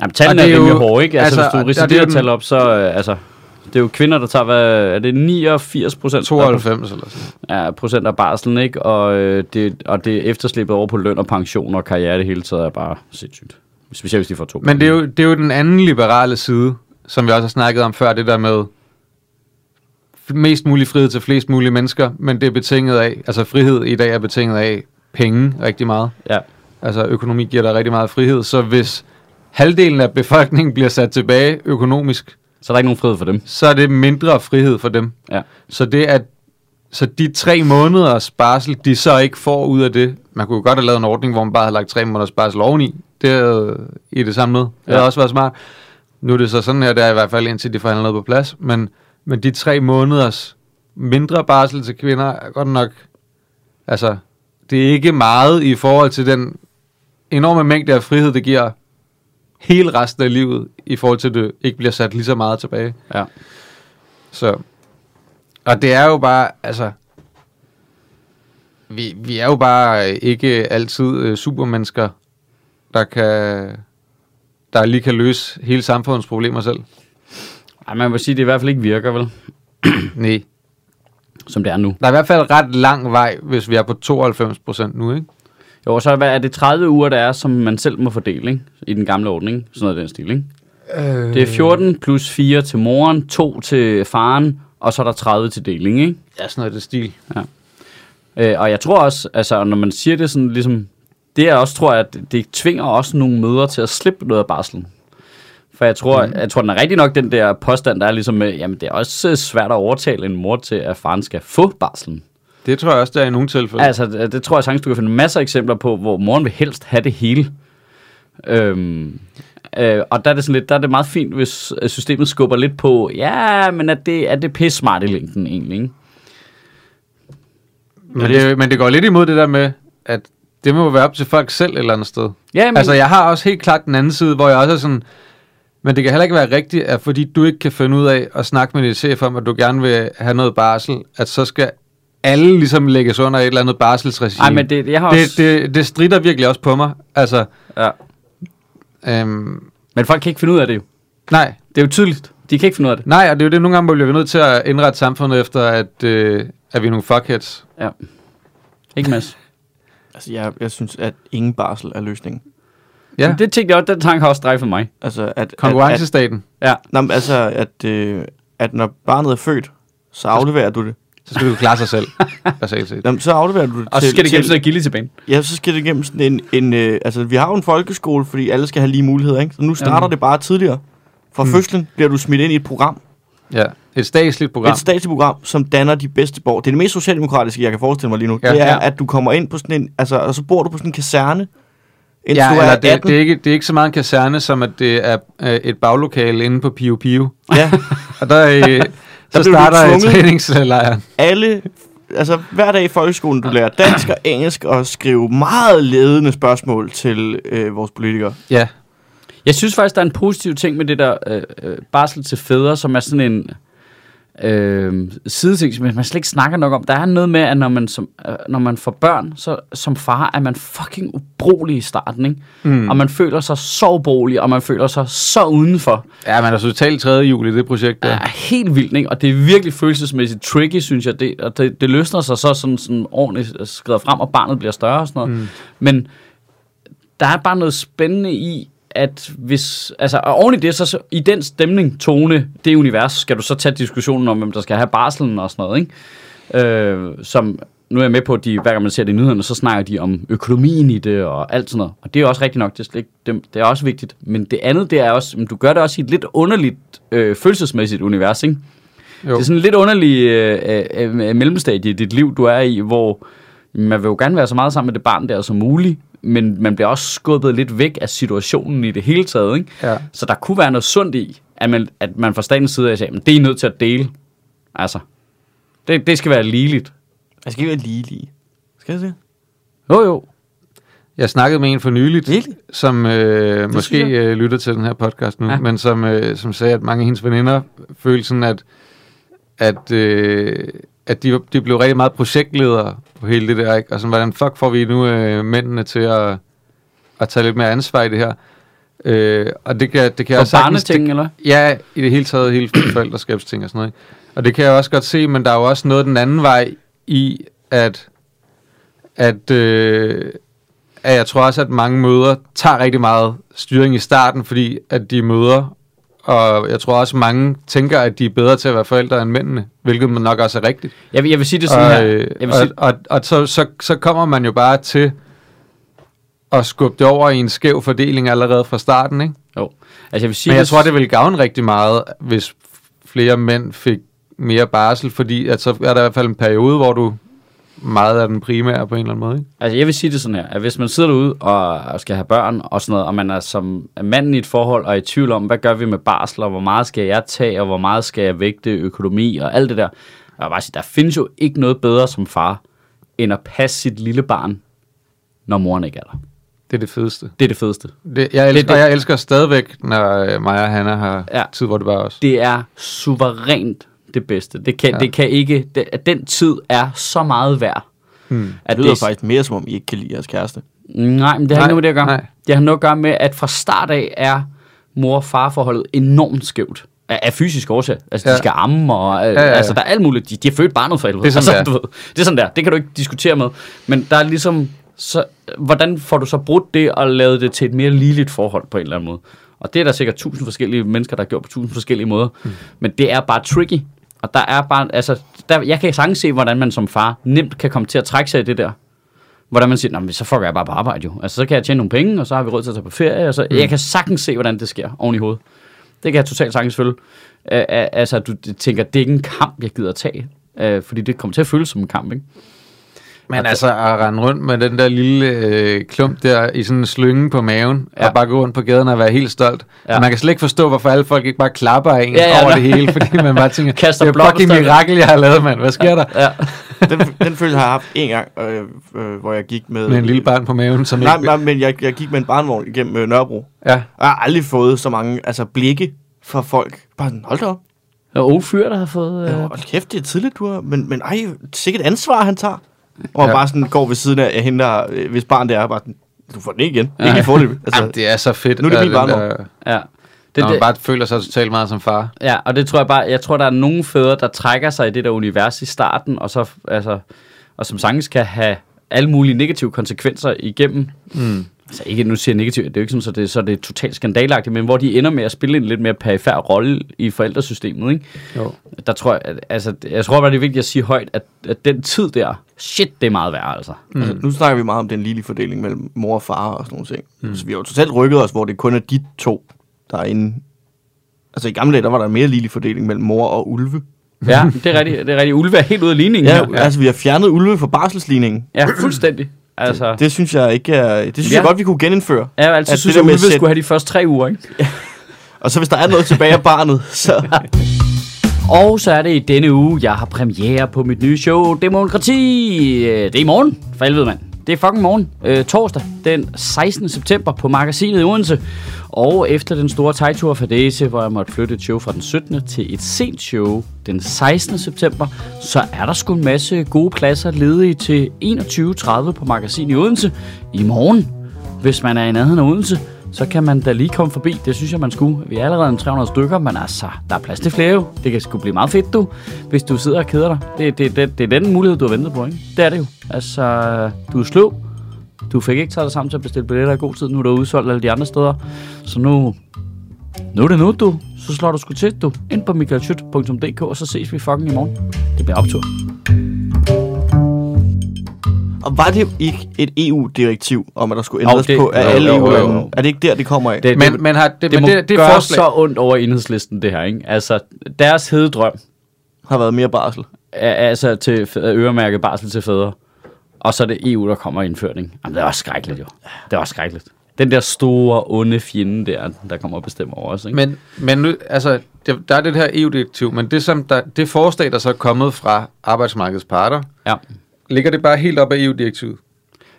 Speaker 3: Og
Speaker 2: tallene
Speaker 3: det
Speaker 2: er,
Speaker 3: er
Speaker 2: rimelig
Speaker 3: jo-
Speaker 2: hårde, ikke? Altså,
Speaker 3: altså,
Speaker 2: altså hvis
Speaker 3: og-
Speaker 2: du
Speaker 3: og
Speaker 2: risikerer
Speaker 3: det er
Speaker 2: at
Speaker 3: den-
Speaker 2: tale op, så... Øh, altså, det er jo kvinder, der tager, hvad, er det 89 procent?
Speaker 3: 92 eller sådan noget.
Speaker 2: Ja, procent af barselen, ikke? Og, øh, det, og det er efterslippet over på løn og pension og karriere det hele taget er bare sindssygt. Specielt hvis de får to.
Speaker 3: Men det er, jo, det er jo den anden liberale side som vi også har snakket om før, det der med f- mest mulig frihed til flest mulige mennesker, men det er betinget af, altså frihed i dag er betinget af penge rigtig meget.
Speaker 2: Ja.
Speaker 3: Altså økonomi giver dig rigtig meget frihed, så hvis halvdelen af befolkningen bliver sat tilbage økonomisk,
Speaker 2: Så er der ikke nogen frihed for dem.
Speaker 3: så er det mindre frihed for dem.
Speaker 2: Ja.
Speaker 3: Så det at så de tre måneders barsel, de så ikke får ud af det. Man kunne jo godt have lavet en ordning, hvor man bare havde lagt tre måneders barsel oveni. Det havde i det samme med. Det havde
Speaker 2: Ja.
Speaker 3: også været smart. Nu er det så sådan her, der er i hvert fald indtil de forhandler noget på plads. Men, men de tre måneders mindre barsel til kvinder er godt nok... Altså, det er ikke meget i forhold til den enorme mængde af frihed, det giver hele resten af livet, i forhold til, at det ikke bliver sat lige så meget tilbage.
Speaker 2: Ja.
Speaker 3: Så. Og det er jo bare, altså... Vi, vi er jo bare øh, ikke altid øh, supermennesker, der kan der lige kan løse hele samfundets problemer selv.
Speaker 2: Ej, man vil sige, at det i hvert fald ikke virker, vel?
Speaker 3: Nej.
Speaker 2: Som det er nu.
Speaker 3: Der er i hvert fald ret lang vej, hvis vi er på 92 procent nu, ikke?
Speaker 2: Jo, og så er- hvad er det 30 uger, der er, som man selv må fordele, ikke? I den gamle ordning. ikke? Sådan noget i den stil, ikke? Øh... Det er 14 plus 4 til moren, 2 til faren, og så er der 30 til deling, ikke?
Speaker 3: Ja, sådan noget i det stil.
Speaker 2: Øh, og jeg tror også, altså når man siger det sådan ligesom, det er også, tror jeg, at det tvinger også nogle mødre til at slippe noget af barslen. For jeg tror, mm. jeg tror, den er rigtig nok den der påstand, der er ligesom, med, jamen det er også øh, svært at overtale en mor til, at faren skal få barslen.
Speaker 3: Det tror jeg også, der er i nogle tilfælde.
Speaker 2: Altså, det, det tror jeg sagtens, du kan finde masser af eksempler på, hvor moren vil helst have det hele. Øhm, øh, og der er, det sådan lidt, der er det meget fint, hvis øh, systemet skubber lidt på, ja, men er det, er det pisse smart i længden egentlig, ikke?
Speaker 3: men, det, men det går lidt imod det der med, at det må jo være op til folk selv et eller andet sted.
Speaker 2: Ja, men,
Speaker 3: Jamen. Altså, jeg har også helt klart den anden side, hvor jeg også er sådan, men det kan heller ikke være rigtigt, at fordi du ikke kan finde ud af at snakke med din chef om, at du gerne vil have noget barsel, at så skal alle ligesom lægges under et eller andet barselsregime.
Speaker 2: ej, men det, jeg har
Speaker 3: det,
Speaker 2: også,
Speaker 3: det, det strider virkelig også på mig. Altså,
Speaker 2: Ja.
Speaker 3: øhm,
Speaker 2: Men folk kan ikke finde ud af det jo.
Speaker 3: nej,
Speaker 2: Det er jo tydeligt. De kan ikke finde ud af det.
Speaker 3: nej, og det er jo det, nogle gange bliver vi nødt til at indrette samfundet efter, at, øh, at vi er nogle fuckheads.
Speaker 2: Ja. Ikke Mads?
Speaker 1: Altså, jeg, jeg synes, at ingen barsel er løsningen.
Speaker 3: Ja.
Speaker 2: Men Det tænkte jeg også, den tanke har også strejfet mig.
Speaker 1: Altså, at, At,
Speaker 3: Konkurrencestaten,
Speaker 2: Ja.
Speaker 1: at, nej, men altså, at, øh, at når barnet er født, så afleverer du det.
Speaker 3: så skal du klare sig selv, basalt set.
Speaker 1: Jamen, så afleverer du det
Speaker 2: Og så skal det
Speaker 1: til,
Speaker 2: gennem sådan gilde til banen.
Speaker 1: Ja, så skal det igennem sådan en... en øh, altså, vi har jo en folkeskole, fordi alle skal have lige muligheder, ikke? Så nu starter
Speaker 2: Jamen.
Speaker 1: det bare tidligere. Fra
Speaker 3: Mm.
Speaker 1: fødslen bliver du smidt ind i et program.
Speaker 3: Ja. Et statsligt program.
Speaker 1: Et statsligt program, som danner de bedste borgere. Det er det mest socialdemokratiske, jeg kan forestille mig lige nu.
Speaker 3: Ja,
Speaker 1: Ja, det er,
Speaker 2: ja.
Speaker 1: ja. at du kommer ind på sådan en... Altså, og så bor du på sådan en kaserne, indtil
Speaker 3: Ja,
Speaker 1: du er
Speaker 3: eller det,
Speaker 1: 18.
Speaker 3: det, er ikke, det er ikke så meget en kaserne, som at det er øh, et baglokale inde på Pio Pio.
Speaker 1: Ja,
Speaker 3: Og der, øh,
Speaker 1: blev
Speaker 3: så
Speaker 1: du
Speaker 3: starter øh,
Speaker 1: tvunget.
Speaker 3: træningslejren.
Speaker 1: alle... Altså, hver dag i folkeskolen, du lærer dansk og engelsk og skrive meget ledende spørgsmål til øh, vores politikere.
Speaker 3: Ja,
Speaker 2: Jeg synes faktisk, der er en positiv ting med det der øh, øh, barsel til fædre, som er sådan en øh, sideting, som man slet ikke snakker nok om. Der er noget med, at når man, som, øh, når man får børn, så som far er man fucking ubrugelig i starten, ikke? Mm. Og man føler sig så ubrugelig, og man føler sig så udenfor.
Speaker 3: ja man er så totalt tredje jul i det projekt der.
Speaker 2: er helt vildt, ikke? Og det er virkelig følelsesmæssigt tricky, synes jeg. Det, og det, det løsner sig så sådan, sådan ordentligt øh, skrider frem, og barnet bliver større og sådan noget. Mm. Men der er bare noget spændende i, at hvis, altså, og oven i det, så, så i den stemning, tone, det univers, skal du så tage diskussionen om, hvem der skal have barselen og sådan noget, ikke? Øh, som, nu er jeg med på, at de, hver gang man ser det i nyhederne, så snakker de om økonomien i det og alt sådan noget. Og det er også rigtigt nok, det er, slet ikke, det, det er også vigtigt. Men det andet, det er også, men du gør det også i et lidt underligt øh, følelsesmæssigt univers, ikke?
Speaker 3: Jo.
Speaker 2: Det er sådan en lidt underlig øh, øh, øh, mellemstadie i dit liv, du er i, hvor man vil jo gerne være så meget sammen med det barn der som muligt, men man bliver også skubbet lidt væk af situationen i det hele taget. Ikke?
Speaker 3: Ja.
Speaker 2: Så der kunne være noget sundt i, at man, at man fra statens side af siger, at det er I nødt til at dele. Altså, det, det skal være ligeligt.
Speaker 1: Jeg skal ikke være lige lige. Skal jeg det?
Speaker 2: Jo jo,
Speaker 3: Jeg snakkede med en for nyligt,
Speaker 1: Virkelig?
Speaker 3: som øh, måske
Speaker 2: synes
Speaker 3: øh, lytter til den her podcast nu,
Speaker 2: Ja.
Speaker 3: ja. men som, øh, som sagde, at mange af hendes veninder følte sådan, at, at, øh, at de, de blev rigtig meget projektledere på hele det der, ikke? og sådan, hvordan fuck får vi nu øh, mændene til at, at tage lidt mere ansvar i det her? Øh, og det kan, det kan jeg
Speaker 2: og
Speaker 3: sagtens... det-
Speaker 2: barneting, eller?
Speaker 3: Ja, i det hele taget, hele forældreskabsting og sådan noget. Ikke? Og det kan jeg også godt se, men der er jo også noget den anden vej i, at, at, øh, at jeg tror også, at mange møder tager rigtig meget styring i starten, fordi at de møder og jeg tror også, mange tænker, at de er bedre til at være forældre end mændene, hvilket nok også er rigtigt.
Speaker 2: Jeg, vil- jeg vil sige det sådan
Speaker 3: Og,
Speaker 2: her.
Speaker 3: øh,
Speaker 2: Jeg vil
Speaker 3: og,
Speaker 2: sige,
Speaker 3: og, og så, så, så kommer man jo bare til at skubbe det over i en skæv fordeling allerede fra starten, ikke?
Speaker 2: jo. Altså, jeg vil sige
Speaker 3: Men jeg tror, det ville gavne rigtig meget, hvis flere mænd fik mere barsel, fordi at så er der i hvert fald en periode, hvor du meget er den primære på en eller anden måde, ikke?
Speaker 2: Altså, jeg vil sige det sådan her, at hvis man sidder derude og skal have børn og sådan noget, og man er som manden i et forhold og er i tvivl om, hvad gør vi med barsel, og hvor meget skal jeg tage, og hvor meget skal jeg vægte økonomi og alt det der. Og bare sige, der findes jo ikke noget bedre som far, end at passe sit lille barn, når moren ikke er der.
Speaker 3: Det er det fedeste.
Speaker 2: Det er det fedeste.
Speaker 3: Det, jeg elsker,
Speaker 2: Det-
Speaker 3: det,
Speaker 2: det-
Speaker 3: Og jeg elsker stadigvæk, når øh, mig og Hanna har
Speaker 2: Ja.
Speaker 3: ja. tid, hvor det var os.
Speaker 2: Det er suverænt det bedste. Det kan, ja.
Speaker 3: Ja.
Speaker 2: det kan ikke, det, at den tid er så meget værd.
Speaker 3: Hmm.
Speaker 2: At
Speaker 1: Det lyder faktisk mere, som om I ikke kan lide jeres kæreste.
Speaker 2: Nej, men det har
Speaker 3: Nej,
Speaker 2: ikke noget med det at gøre. Nej.
Speaker 3: nej.
Speaker 2: Det har noget at gøre med, at fra start af er mor-far-forholdet enormt skævt. Af, af fysisk årsag. Altså, ja. de
Speaker 3: Ja.
Speaker 2: skal amme, og øh, ja,
Speaker 3: ja,
Speaker 2: ja,
Speaker 3: ja.
Speaker 2: altså, der er alt muligt. De, de har født barnet for helvede.
Speaker 3: Det er sådan,
Speaker 2: altså,
Speaker 3: det er.
Speaker 2: Du ved, det er sådan der. Det kan du ikke diskutere med. Men der er ligesom... Så, hvordan får du så brudt det og lavet det til et mere ligeligt forhold på en eller anden måde? Og det er der sikkert tusind forskellige mennesker, der har gjort på tusind forskellige måder. Mm. Men det er bare tricky. Og der er bare, altså, der, jeg kan sagtens se, hvordan man som far nemt kan komme til at trække sig i det der hvordan man siger, "Nå, men så fucker jeg bare på arbejde jo. Altså, så kan jeg tjene nogle penge, og så har vi råd til at tage på ferie. Og så, mm. Jeg kan sagtens se, hvordan det sker oven i hovedet. Det kan jeg totalt sagtens følge. Øh, øh, altså, at du tænker, det er ikke en kamp, jeg gider tage. Øh, fordi det kommer til at føles som en kamp, ikke?
Speaker 3: Men altså at rende rundt med den der lille øh, klump der i sådan en slynge på maven,
Speaker 2: Ja.
Speaker 3: ja. og bare gå rundt på gaden og være helt stolt.
Speaker 2: Ja.
Speaker 3: Ja. Og man kan slet ikke forstå, hvorfor alle folk ikke bare klapper af en
Speaker 2: Ja,
Speaker 3: ja,
Speaker 2: ja,
Speaker 3: ja, over
Speaker 2: nej.
Speaker 3: det hele, fordi man bare tænker,
Speaker 2: Kaster
Speaker 3: det er fucking
Speaker 2: blomster.
Speaker 3: mirakel, jeg har lavet, mand. Hvad sker der?
Speaker 2: Ja.
Speaker 1: Den, den følelse har jeg haft en gang, øh, øh, hvor jeg gik med...
Speaker 3: Med en lille barn på maven, som
Speaker 1: Nej,
Speaker 3: ikke...
Speaker 1: nej, men jeg, jeg gik med en barnvogn igennem øh, Nørrebro.
Speaker 3: Ja.
Speaker 1: Og jeg har aldrig fået så mange altså, blikke fra folk. Bare sådan, hold da op.
Speaker 2: Og unge fyr, der har fået...
Speaker 1: Ja.
Speaker 2: Øh,
Speaker 1: Hold kæft, det er tidligt, du har. Men, men ej, sikkert ansvar, han tager. Og man
Speaker 3: Ja.
Speaker 1: bare sådan går ved siden af hende, der, øh, hvis barn det er, bare sådan, du får den ikke igen. Ikke i forløbet. Altså,
Speaker 3: Jamen, det er så fedt.
Speaker 1: Nu er det
Speaker 3: at
Speaker 1: min
Speaker 3: den
Speaker 1: barndom.
Speaker 3: der-
Speaker 2: ja.
Speaker 3: Når man bare føler sig totalt meget som far.
Speaker 2: Ja, og det tror jeg bare, jeg tror, der er nogle fædre, der trækker sig i det der univers i starten, og, så, altså, og som sagtens kan have alle mulige negative konsekvenser igennem. Mm. Altså ikke, nu siger jeg negativt, det er jo ikke sådan, så det, så det er totalt skandalagtigt, men hvor de ender med at spille en lidt mere perifær rolle i forældresystemet, ikke?
Speaker 3: Jo.
Speaker 2: Der tror jeg, at, altså, jeg tror bare, det er vigtigt at sige højt, at, at den tid der, shit, det er meget værre, altså.
Speaker 1: Mm. Altså, nu snakker vi meget om den lille fordeling mellem mor og far og sådan nogle ting. Mm. Så vi har jo totalt rykket os, hvor det kun er de to, der er inde. Altså i gamle dage, der var der mere lille fordeling mellem mor og ulve.
Speaker 2: Ja, det er rigtigt, det er rigtigt. Ulve er helt ude af ligningen
Speaker 1: Ja,
Speaker 2: ja.
Speaker 1: ja, altså vi har fjernet ulve fra barselsligningen.
Speaker 2: ja, fuldstændig. Altså, det,
Speaker 1: Det synes jeg ikke er, det synes
Speaker 2: Ja.
Speaker 1: ja. jeg godt, vi kunne genindføre.
Speaker 2: jeg har altid
Speaker 1: at det
Speaker 2: synes,
Speaker 1: der
Speaker 2: at
Speaker 1: med
Speaker 2: ulve
Speaker 1: at sætte-
Speaker 2: skulle have de første tre uger, ikke?
Speaker 1: Og så hvis der er noget tilbage af barnet, så...
Speaker 2: Og så er det i denne uge, jeg har premiere på mit nye show, Demokrati. Øh, Det er i morgen, for helvede mand. Det er fucking morgen, øh, torsdag den 16. september på Magasinet i Odense. Og efter den store tegtur for Daisy, hvor jeg måtte flytte et show fra den 17. til et sent show den 16. september, så er der sgu en masse gode pladser ledige til 21.30 på Magasinet i Odense i morgen. Hvis man er i nærheden af Odense, så kan man da lige komme forbi. Det synes jeg, man skulle. Vi er allerede en 300 stykker, men altså, der er plads til flere jo. Det kan sgu blive meget fedt, du, hvis du sidder og keder dig. Det, det, det, det er den mulighed, du har ventet på, ikke? Det er det jo. Altså, du er sløv. Du fik ikke taget dig sammen til at bestille billetter i god tid. Nu er der udsolgt alle de andre steder. Så nu... Nu er det nu, du. Så slår du sgu til, du. Ind på michaelschyt.dk, og så ses vi fucking i morgen. Det bliver optur.
Speaker 1: Og var det ikke et EU-direktiv om, at der skulle ændres
Speaker 2: Jo, det-
Speaker 1: på af
Speaker 2: jo,
Speaker 1: alle
Speaker 2: jo,
Speaker 1: eu
Speaker 3: jo, jo.
Speaker 1: Er det ikke der, det kommer af?
Speaker 2: Det,
Speaker 3: Men, men, har, det,
Speaker 2: det
Speaker 3: men
Speaker 2: må
Speaker 3: det, det
Speaker 2: gøre
Speaker 3: forslag...
Speaker 2: så ondt over enhedslisten, det her, ikke? Altså, deres hede drøm
Speaker 1: har været mere barsel.
Speaker 2: er, er altså til f- at øremærke barsel til fædre, og så er det EU, der kommer og indfører den. Jamen, det er også skrækkeligt, jo. Det er også skrækkeligt. Den der store, onde fjende der, der kommer og bestemmer over os, ikke?
Speaker 3: Men, men nu, altså, det- der er det her EU-direktiv, men det, som der, det forslag, der så er kommet fra arbejdsmarkedets parter,
Speaker 2: Ja.
Speaker 3: ligger det bare helt op af E EU-direktivet?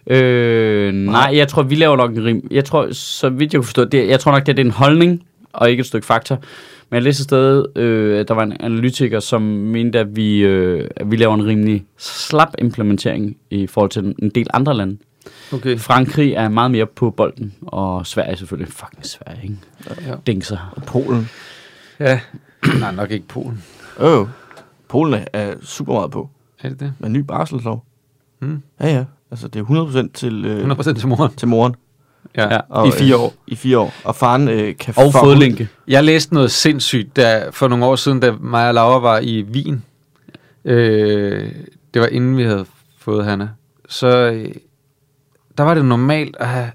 Speaker 2: Øh, nej, jeg tror, vi laver nok en rim. Jeg tror, så vidt jeg kunne forstå, det, jeg tror nok, det er en holdning, og ikke et stykke fakta. Men jeg læste et sted, øh, at der var en analytiker, som mente, at vi, øh, at vi laver en rimelig slap implementering i forhold til en del andre lande.
Speaker 3: Okay.
Speaker 2: Frankrig er meget mere på bolden, og Sverige selvfølgelig. Fucking Sverige, ikke? Ja.
Speaker 3: Ja.
Speaker 2: Dingser.
Speaker 1: Polen.
Speaker 3: Ja. Nej, nok ikke Polen.
Speaker 1: Øh, Polen er- er super meget på.
Speaker 3: Er det det?
Speaker 1: Med en ny barselslov.
Speaker 3: Mm.
Speaker 1: Ja, ja. Altså, det er 100% til, øh,
Speaker 3: 100% til moren.
Speaker 1: til moren.
Speaker 3: Ja.
Speaker 2: Ja.
Speaker 3: ja.
Speaker 1: Og, øh,
Speaker 3: I fire år.
Speaker 1: I fire år. Og faren øh, kan
Speaker 2: Og
Speaker 1: fuck-
Speaker 2: fodlænke.
Speaker 3: Jeg læste noget sindssygt da, for nogle år siden, da mig og Laura var i Wien. Øh, det var inden vi havde fået Hanna. Så øh, der var det normalt at have...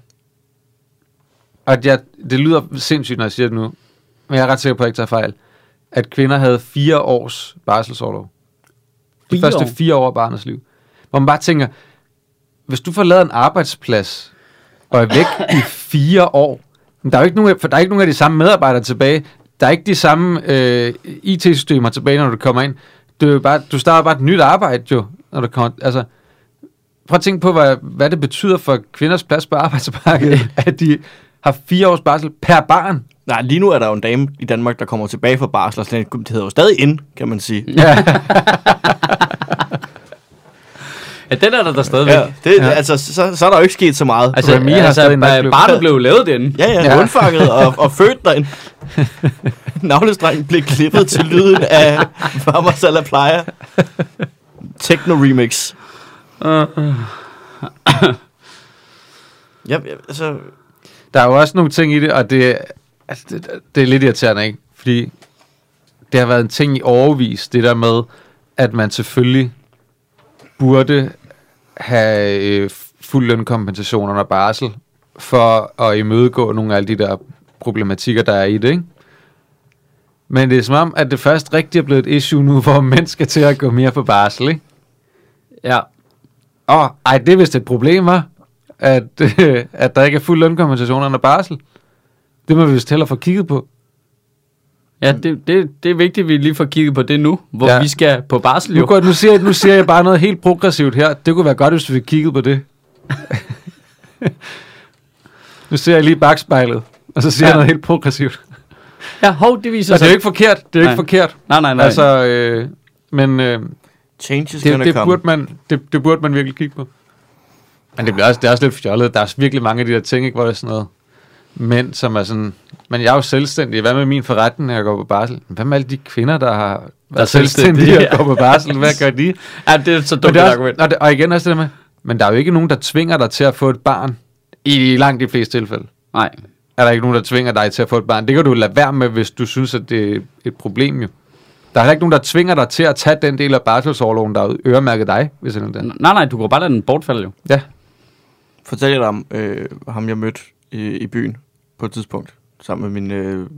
Speaker 3: At jeg, det lyder sindssygt, når jeg siger det nu, men jeg er ret sikker på, at jeg ikke tager fejl, at kvinder havde fire års barselsorlov. De
Speaker 2: Fire
Speaker 3: første
Speaker 2: år?
Speaker 3: fire år af barnets liv. Hvor man bare tænker, hvis du forlader en arbejdsplads og er væk i fire år, men der er jo ikke nogen, for der er ikke nogen af de samme medarbejdere tilbage. Der er ikke de samme øh, IT-systemer tilbage, når du kommer ind. Det er jo bare, du starter bare et nyt arbejde jo, når du kommer... Altså, prøv at tænke på, hvad, hvad det betyder for kvinders plads på arbejdsmarkedet, at de har fire års barsel per barn.
Speaker 1: Nej, lige nu er der jo en dame i Danmark, der kommer tilbage fra barsel, og sådan, det hedder jo stadig ind, kan man sige.
Speaker 3: Ja.
Speaker 2: Ja, den er der, der stadigvæk.
Speaker 1: Ja,
Speaker 2: Ja.
Speaker 1: det, ja. Altså, så, så er der jo ikke sket så meget.
Speaker 2: Altså,
Speaker 3: Remy har
Speaker 2: altså,
Speaker 3: stadig en
Speaker 2: altså
Speaker 3: natklub.
Speaker 2: bare blev lavet den.
Speaker 1: ja, ja,
Speaker 3: Ja.
Speaker 1: ja. undfanget og, og født derinde. Navlestrengen blev klippet til lyden af Mama Sala Playa. Techno Remix. Ja, ja, altså,
Speaker 3: Der er jo også nogle ting i det, og det, altså, det, det er lidt irriterende, ikke? Fordi det har været en ting i overvis, det der med, at man selvfølgelig burde have øh, fuld lønkompensation under barsel, for at imødegå nogle af alle de der problematikker, der er i det, ikke? Men det er som om, at det først rigtig er blevet et issue nu, hvor mænd skal til at gå mere på barsel, ikke?
Speaker 2: Ja.
Speaker 3: Åh, ej, det er vist et problem, var, at, øh, at der ikke er fuld lønkompensation under barsel. Det må vi vist hellere få kigget på.
Speaker 2: Ja, det, det, det er vigtigt, at vi lige får kigget på det nu, hvor ja.
Speaker 3: Ja.
Speaker 2: vi skal på barsel
Speaker 3: Nu,
Speaker 2: jo.
Speaker 3: går, nu, siger, jeg- nu siger jeg bare noget helt progressivt her. Det kunne være godt, hvis vi kiggede på det. nu ser jeg lige i bagspejlet, og så siger ja. jeg
Speaker 2: Ja.
Speaker 3: noget helt progressivt.
Speaker 2: Ja, hov, det viser
Speaker 3: Og det
Speaker 2: sig.
Speaker 3: er jo ikke forkert. Det er jo ikke
Speaker 2: Nej.
Speaker 3: forkert.
Speaker 2: Nej, nej, nej. Altså,
Speaker 3: Altså, øh, men øh,
Speaker 1: changes
Speaker 3: det,
Speaker 1: gonna
Speaker 3: det,
Speaker 1: come.
Speaker 3: burde man, det, det burde man virkelig kigge på. Men det, bliver også, det er også lidt fjollet. Der er virkelig mange af de der ting, ikke, hvor der er sådan noget mænd, som er sådan... Men jeg er jo selvstændig. Hvad med min forretning, når jeg går på barsel? Hvad med alle de kvinder, der har der er
Speaker 2: selvstændige,
Speaker 3: selvstændige og
Speaker 2: ja.
Speaker 3: går på barsel? Hvad gør de?
Speaker 2: ja, det er så
Speaker 3: Men
Speaker 2: dumt
Speaker 3: det
Speaker 2: et
Speaker 3: er også,
Speaker 2: argument.
Speaker 3: og, det, og igen også det der med, men der er jo ikke nogen, der tvinger dig til at få et barn. I langt de fleste tilfælde
Speaker 2: Nej.
Speaker 3: er der ikke nogen, der tvinger dig til at få et barn. Det kan du lade være med, hvis du synes, at det er et problem jo. Der er heller ikke nogen, der tvinger dig til at tage den del af barselsårloven, der er øremærket dig, hvis det er den.
Speaker 2: Nej, nej, du går bare lade den bortfalde jo.
Speaker 3: Ja.
Speaker 1: fortalte jeg dig om øh, ham, jeg mødte i, i byen på et tidspunkt, sammen med min øh,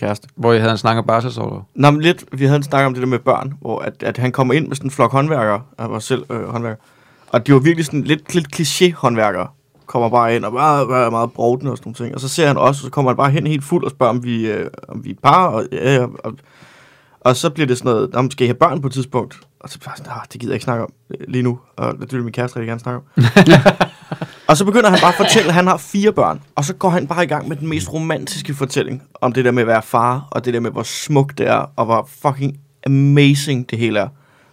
Speaker 1: kæreste.
Speaker 3: Hvor jeg havde en snak om barselsorlov.
Speaker 1: Nå, men lidt, vi havde en snak om det der med børn, hvor at, at han kommer ind med sådan en flok håndværkere, jeg var selv øh, håndværker, og de var virkelig sådan lidt, lidt kliché-håndværkere, kommer bare ind og bare, bare er meget brovden og sådan nogle ting. Og så ser han også, og så kommer han bare hen helt fuld og spørger, om vi, øh, om vi er par, og, ja, ja, og, og så bliver det sådan noget, om skal I have børn på et tidspunkt? Og så bare sådan, "Ah, det gider jeg ikke snakke om øh, lige nu, og det vil min kæreste rigtig gerne snakke om. og så begynder han bare at fortælle, at han har fire børn, og så går han bare i gang med den mest romantiske fortælling om det der med at være far, og det der med, hvor smukt det er, og hvor fucking amazing det hele er.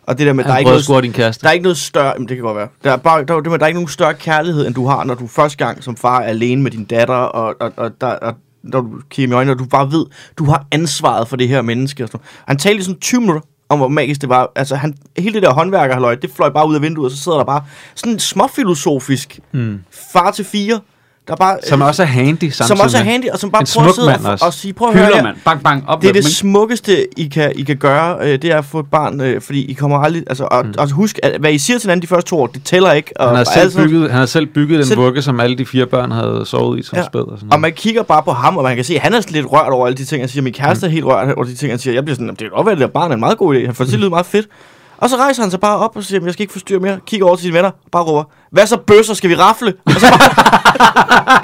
Speaker 1: Og det der med, at der er ikke noget
Speaker 3: din kæreste.
Speaker 1: der er ikke noget større, jamen det kan godt være. Der er, bare, der, er- det med, der er ikke nogen større kærlighed, end du har, når du er første gang som far er alene med din datter, og, og, og, der, og når du kigger i øjnene, og du bare ved, du har ansvaret for det her menneske. Og sådan. noget. Han talte i sådan 20 minutter om, hvor magisk det var. Altså, han, hele det der håndværkerhalløj, det fløj bare ud af vinduet, og så sidder der bare sådan småfilosofisk mm. far til fire, der bare...
Speaker 3: Hmm. Som også er handy samtidig.
Speaker 1: som også er
Speaker 3: med.
Speaker 1: handy, og som bare
Speaker 3: En
Speaker 1: prøver at
Speaker 3: smuk
Speaker 1: sidde
Speaker 3: mand
Speaker 1: og,
Speaker 3: også.
Speaker 1: og sige, prøv at høre
Speaker 2: Hylder,
Speaker 1: her,
Speaker 2: mand. Bang, bang, op
Speaker 1: det er
Speaker 2: med
Speaker 1: det
Speaker 2: dem, ikke?
Speaker 1: smukkeste, I kan, I kan gøre, øh, det er at få et barn, øh, fordi I kommer aldrig... Altså, og, mm. og husk, at, hvad I siger til hinanden de første to år, det tæller ikke. Og,
Speaker 3: Han har
Speaker 1: og alt
Speaker 3: selv
Speaker 1: sådan-
Speaker 3: bygget, han har selv bygget den
Speaker 1: Selv-
Speaker 3: vugge, som alle de fire børn havde sovet i som ja. spæd. Og sådan
Speaker 1: og
Speaker 3: noget.
Speaker 1: man kigger bare på ham, og man kan se, at han er sådan lidt rørt over alle de ting, han siger. Min kæreste mm. er helt rørt over de ting, han siger. Jeg bliver sådan, "Jamen, det kan godt være, at det der barn er en meget god idé. Han
Speaker 3: Mm.
Speaker 1: får det til at lyde meget fedt. Og så rejser han sig bare op og siger, "Jamen, jeg skal ikke forstyrre mere. Kigger over til sine venner og bare råber, hvad så bøsser, skal vi rafle? Og så bare...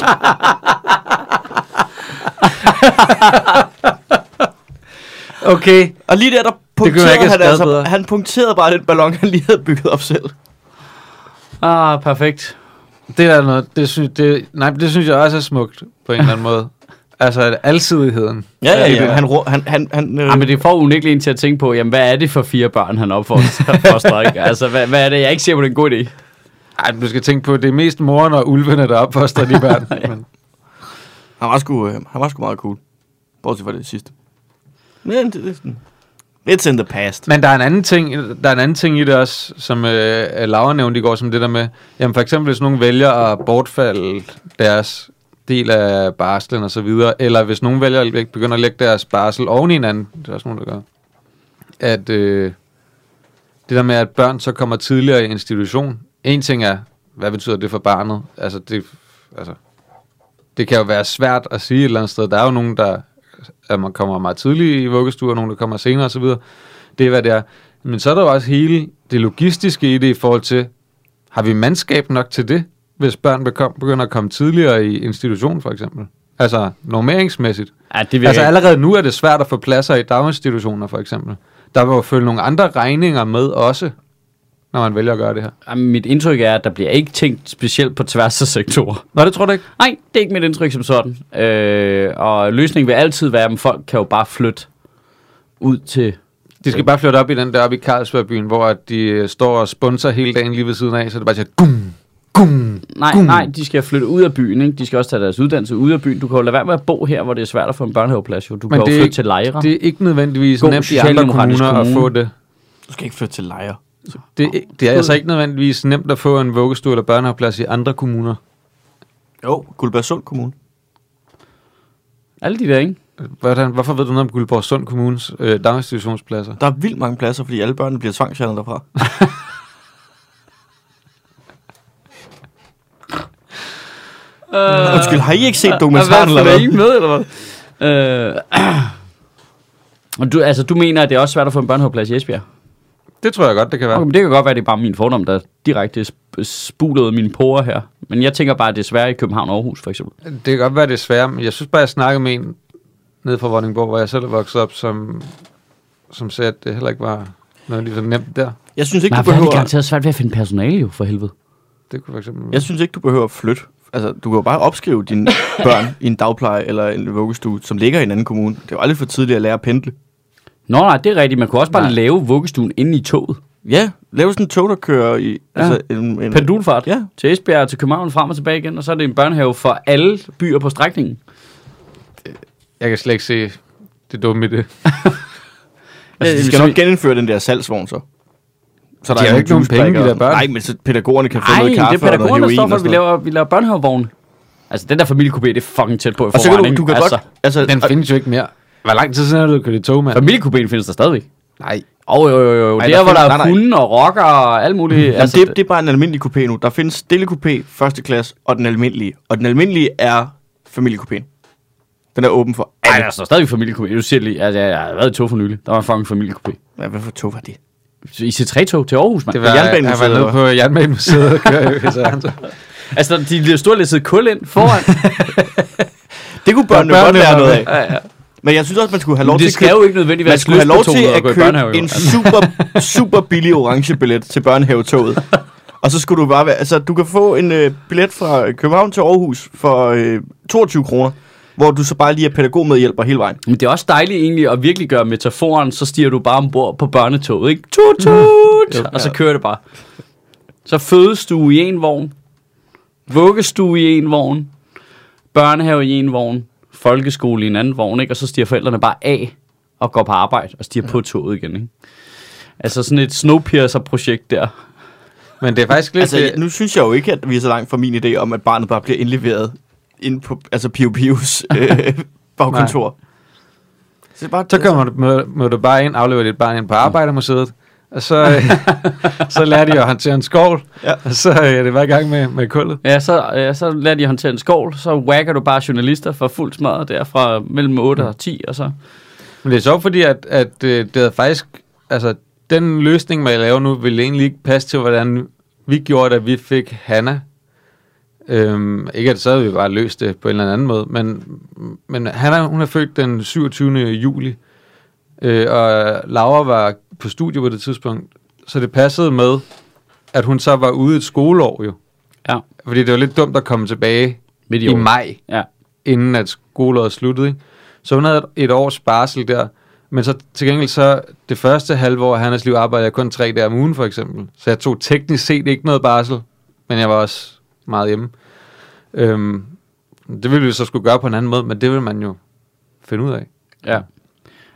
Speaker 3: Okay.
Speaker 1: Og lige der, der
Speaker 3: kunne jeg
Speaker 1: punkterede
Speaker 3: ikke have
Speaker 1: han,
Speaker 3: skrevet
Speaker 1: altså,
Speaker 3: bedre.
Speaker 1: han punkterede bare den ballon, han lige havde bygget op selv.
Speaker 2: Ah, perfekt.
Speaker 3: Det er der noget, det synes, det, nej, men det synes jeg også er smukt på en eller anden måde. Altså, at alsidigheden.
Speaker 1: Ja, ja,
Speaker 3: i det.
Speaker 1: ja. Han, rå- han, han, han, øh,
Speaker 2: Ja, Ah, men det får unægteligt en til at tænke på, jamen, hvad er det for fire børn, han opfostrer, ikke? Altså, hvad, hvad er det? Jeg er ikke sikker på, det er en god idé.
Speaker 3: Ej, men du skal tænke på, det er mest moren og ulvene, der opfoster de børn. Men,
Speaker 1: Han var sgu, øh, han var sgu meget cool. Bortset fra det sidste. Men det, det er sådan... It's in the past.
Speaker 3: men der, er en anden ting, der er en anden ting i det også, som øh, Laura nævnte i går, som det der med, jamen for eksempel hvis nogen vælger at bortfalde deres del af barslen og så videre, eller hvis nogen vælger at lægge- begynder at lægge deres barsel oven i hinanden, det er også nogen, der gør, at øh, det der med, at børn så kommer tidligere i institution, en ting er, hvad betyder det for barnet? Altså det, altså, det kan jo være svært at sige et eller andet sted. Der er jo nogen, der at man kommer meget tidligt i vuggestuer, og nogen, der kommer senere osv. Det er, hvad det er. Men så er der jo også hele det logistiske i det i forhold til, har vi mandskab nok til det, hvis børn bekom- begynder at komme tidligere i institution, for eksempel? Altså normeringsmæssigt.
Speaker 2: Ja, det vil
Speaker 3: Altså
Speaker 2: jeg ikke-
Speaker 3: allerede nu er det svært at få pladser i daginstitutioner, for eksempel. Der vil jo følge nogle andre regninger med også, når man vælger at gøre det her.
Speaker 2: Jamen, mit indtryk er, at der bliver ikke tænkt specielt på tværs af sektorer.
Speaker 3: Nå, det tror du ikke?
Speaker 2: Nej, det er ikke mit indtryk som sådan. Øh, og løsningen vil altid være, at folk kan jo bare flytte ud til...
Speaker 3: De skal bare flytte op i den der op i Carlsbergbyen, hvor at de øh, står og sponsor hele dagen lige ved siden af, så det bare siger, gum, gum.
Speaker 2: Nej,
Speaker 3: Gud.
Speaker 2: nej, de skal flytte ud af byen, ikke? De skal også tage deres uddannelse ud af byen. Du kan jo lade være med at bo her, hvor det er svært at få en børnehaveplads. Jo. Du kan jo
Speaker 3: det er
Speaker 2: flytte
Speaker 3: ikke-
Speaker 2: til lejre.
Speaker 3: Det er ikke nødvendigvis
Speaker 2: God
Speaker 3: God nemt i andre
Speaker 2: socialdemokratisk
Speaker 3: kommuner at
Speaker 2: kommune.
Speaker 3: få det.
Speaker 1: Du skal ikke flytte til lejre.
Speaker 3: Det er, ikke- det er altså ikke nødvendigvis nemt at få en vuggestue eller børnehaveplads i andre kommuner.
Speaker 1: Jo, Guldbergsund Kommune.
Speaker 2: Alle de der, ikke?
Speaker 3: Hvordan, hvorfor ved du noget om Guldborg Sund Kommunes øh, daginstitutionspladser?
Speaker 1: Der er vildt mange pladser, fordi alle børnene bliver tvangsfjernet derfra.
Speaker 2: Øh,
Speaker 1: Undskyld, har I ikke set dokumentaren eller
Speaker 2: hvad? Er
Speaker 1: hvad?
Speaker 2: I ikke med, eller hvad? Øh, og du, altså, du mener, at det er også svært at få en børnehaveplads i Esbjerg?
Speaker 3: Det tror jeg godt, det kan være.
Speaker 2: Okay, men det kan godt være, at det er bare min fordom, der direkte sp- spulede mine porer her. Men jeg tænker bare, at det er svært i København og Aarhus, for eksempel.
Speaker 3: Det kan godt være, det er svært, men jeg synes bare, jeg snakkede med en nede fra Vordingborg, hvor jeg selv er vokset op, som, som sagde, at det heller ikke var noget lige så nemt der.
Speaker 1: Jeg synes ikke,
Speaker 2: Nej,
Speaker 1: du
Speaker 2: hvor er det
Speaker 1: behøver,
Speaker 2: garanteret svært ved at finde personale jo, for helvede.
Speaker 3: Det kunne for eksempel være.
Speaker 1: jeg synes ikke, du behøver at flytte. Altså, du kan jo bare opskrive dine børn i en dagpleje eller en vuggestue, som ligger i en anden kommune. Det er jo aldrig for tidligt at lære at pendle.
Speaker 2: Nå nej, det er rigtigt. Man kunne også bare
Speaker 3: Nej.
Speaker 2: nej. lave vuggestuen inde i toget.
Speaker 1: Ja, lav sådan en tog, der kører i... Ja. Altså, en, en,
Speaker 2: Pendulfart.
Speaker 1: Ja.
Speaker 2: Til Esbjerg og til København frem og tilbage igen, og så er det en børnehave for alle byer på strækningen.
Speaker 3: Jeg kan slet ikke se det dumme i det.
Speaker 1: altså, de
Speaker 2: Øh,
Speaker 1: skal
Speaker 2: så-
Speaker 1: nok genindføre den der salgsvogn, så. Så
Speaker 3: De har jo ikke nogen
Speaker 1: juicepakker
Speaker 3: penge, de der
Speaker 1: og-
Speaker 3: børn.
Speaker 1: Nej, men så pædagogerne kan få
Speaker 2: Nej,
Speaker 1: noget
Speaker 2: det er
Speaker 1: kaffe og noget
Speaker 2: pædagogerne, der
Speaker 1: heroin
Speaker 2: står
Speaker 1: og
Speaker 2: for, at vi
Speaker 1: sådan noget.
Speaker 2: laver, vi laver børnehavevogne. Altså, den der familiekupé, det er fucking tæt på i
Speaker 1: Og så kan
Speaker 2: forvejen,
Speaker 1: du,
Speaker 2: ikke?
Speaker 1: du kan
Speaker 2: altså,
Speaker 1: godt... Altså,
Speaker 3: Den
Speaker 1: og-
Speaker 3: findes jo ikke mere. Hvor lang tid siden har du kørt i tog, mand?
Speaker 2: Familiekupéen findes der stadigvæk.
Speaker 3: Nej.
Speaker 2: Åh, oh, jo, jo, jo.
Speaker 1: Ej,
Speaker 2: der,
Speaker 1: der
Speaker 2: hvor der
Speaker 1: findes-
Speaker 2: er
Speaker 1: nej, nej.
Speaker 2: hunde og rocker og alt muligt.
Speaker 1: Jamen, altså, det, det er bare en almindelig coupé nu. Der findes stille coupé, første klasse og den almindelige. Og den almindelige er familiekupéen. Den er åben for
Speaker 2: Ej,
Speaker 1: alle.
Speaker 2: der står stadig familiekupé. Du siger lige, altså, jeg jeg har været i tog for nylig. Der var en fucking familiekupé.
Speaker 1: Ja, hvad for tog var det?
Speaker 2: Så I C3-tog til Aarhus, mand.
Speaker 3: Det
Speaker 2: Det
Speaker 3: var,
Speaker 2: var...
Speaker 3: jeg
Speaker 1: Jernbanemuseet,
Speaker 3: var
Speaker 1: eller
Speaker 3: nede på Jernbanemuseet og kørte i Fitzgerald.
Speaker 2: Altså, de bliver stort læsset kul ind foran.
Speaker 1: Det kunne børnene
Speaker 3: Der er
Speaker 1: godt lære
Speaker 3: børnene,
Speaker 1: noget af. Men jeg synes også, man skulle have lov
Speaker 2: Men
Speaker 1: til
Speaker 2: det
Speaker 1: at
Speaker 2: skal
Speaker 1: købe,
Speaker 2: jo ikke nødvendigvis
Speaker 1: man skulle have lov til
Speaker 2: lystbetonet
Speaker 1: at
Speaker 2: gå i
Speaker 1: købe
Speaker 2: børnehave, jo.
Speaker 1: en super, super billig orange billet til børnehavetoget. Og så skulle du bare være, altså du kan få en øh, billet fra København til Aarhus for øh, 22 kroner, hvor du så bare lige er pædagogmedhjælper hele vejen.
Speaker 2: Men det er også dejligt egentlig at virkelig gøre metaforen, så stiger du bare ombord på børnetoget, ikke? Tut, tut! og så kører det bare. Så fødestue i en vogn, vuggestue i en vogn, børnehave i en vogn, folkeskole i en anden vogn, ikke? Og så stiger forældrene bare af og går på arbejde og stiger ja. på toget igen, ikke? Altså sådan et Snowpiercer-projekt der.
Speaker 3: Men det er faktisk lidt... øh,
Speaker 1: Altså,
Speaker 2: øh,
Speaker 3: det-
Speaker 1: nu synes jeg jo ikke, at vi er så langt fra min idé om, at barnet bare bliver indleveret ind på altså Pio Pios øh, bagkontor. Så, det er bare,
Speaker 3: Så kommer du, må, må du bare ind, afleverer dit barn ind på Arbejdermuseet, og så, øh, så lærer de at håndtere en skovl,
Speaker 1: Ja.
Speaker 3: ja. og så øh, er det bare i gang med, med kullet.
Speaker 2: Ja, så, øh, så lader de håndtere en skål, så whacker du bare journalister for fuld smadret der fra mellem 8 og 10, og så...
Speaker 3: Men det er sjovt, fordi at, at øh, det er faktisk... Altså, den løsning, man laver nu, ville egentlig ikke passe til, hvordan vi gjorde, da vi fik Hanna. Øhm, ikke at så havde vi bare løst det på en eller anden måde, men, men Hanna, hun er født den 27. juli, øh, og Laura var på studie på det tidspunkt, så det passede med, at hun så var ude et skoleår jo.
Speaker 2: Ja,
Speaker 3: Fordi det var lidt dumt at komme tilbage
Speaker 2: midt i,
Speaker 3: i
Speaker 2: året.
Speaker 3: maj,
Speaker 2: Ja.
Speaker 3: inden at skoleåret sluttede. Ikke? Så hun havde et- et års barsel der. Men så til gengæld så det første halve år af hans liv arbejdede jeg kun tre dage om ugen for eksempel. Så jeg tog teknisk set ikke noget barsel, men jeg var også meget hjemme. Øhm, det ville vi så skulle gøre på en anden måde, men det vil man jo finde ud af.
Speaker 2: Ja.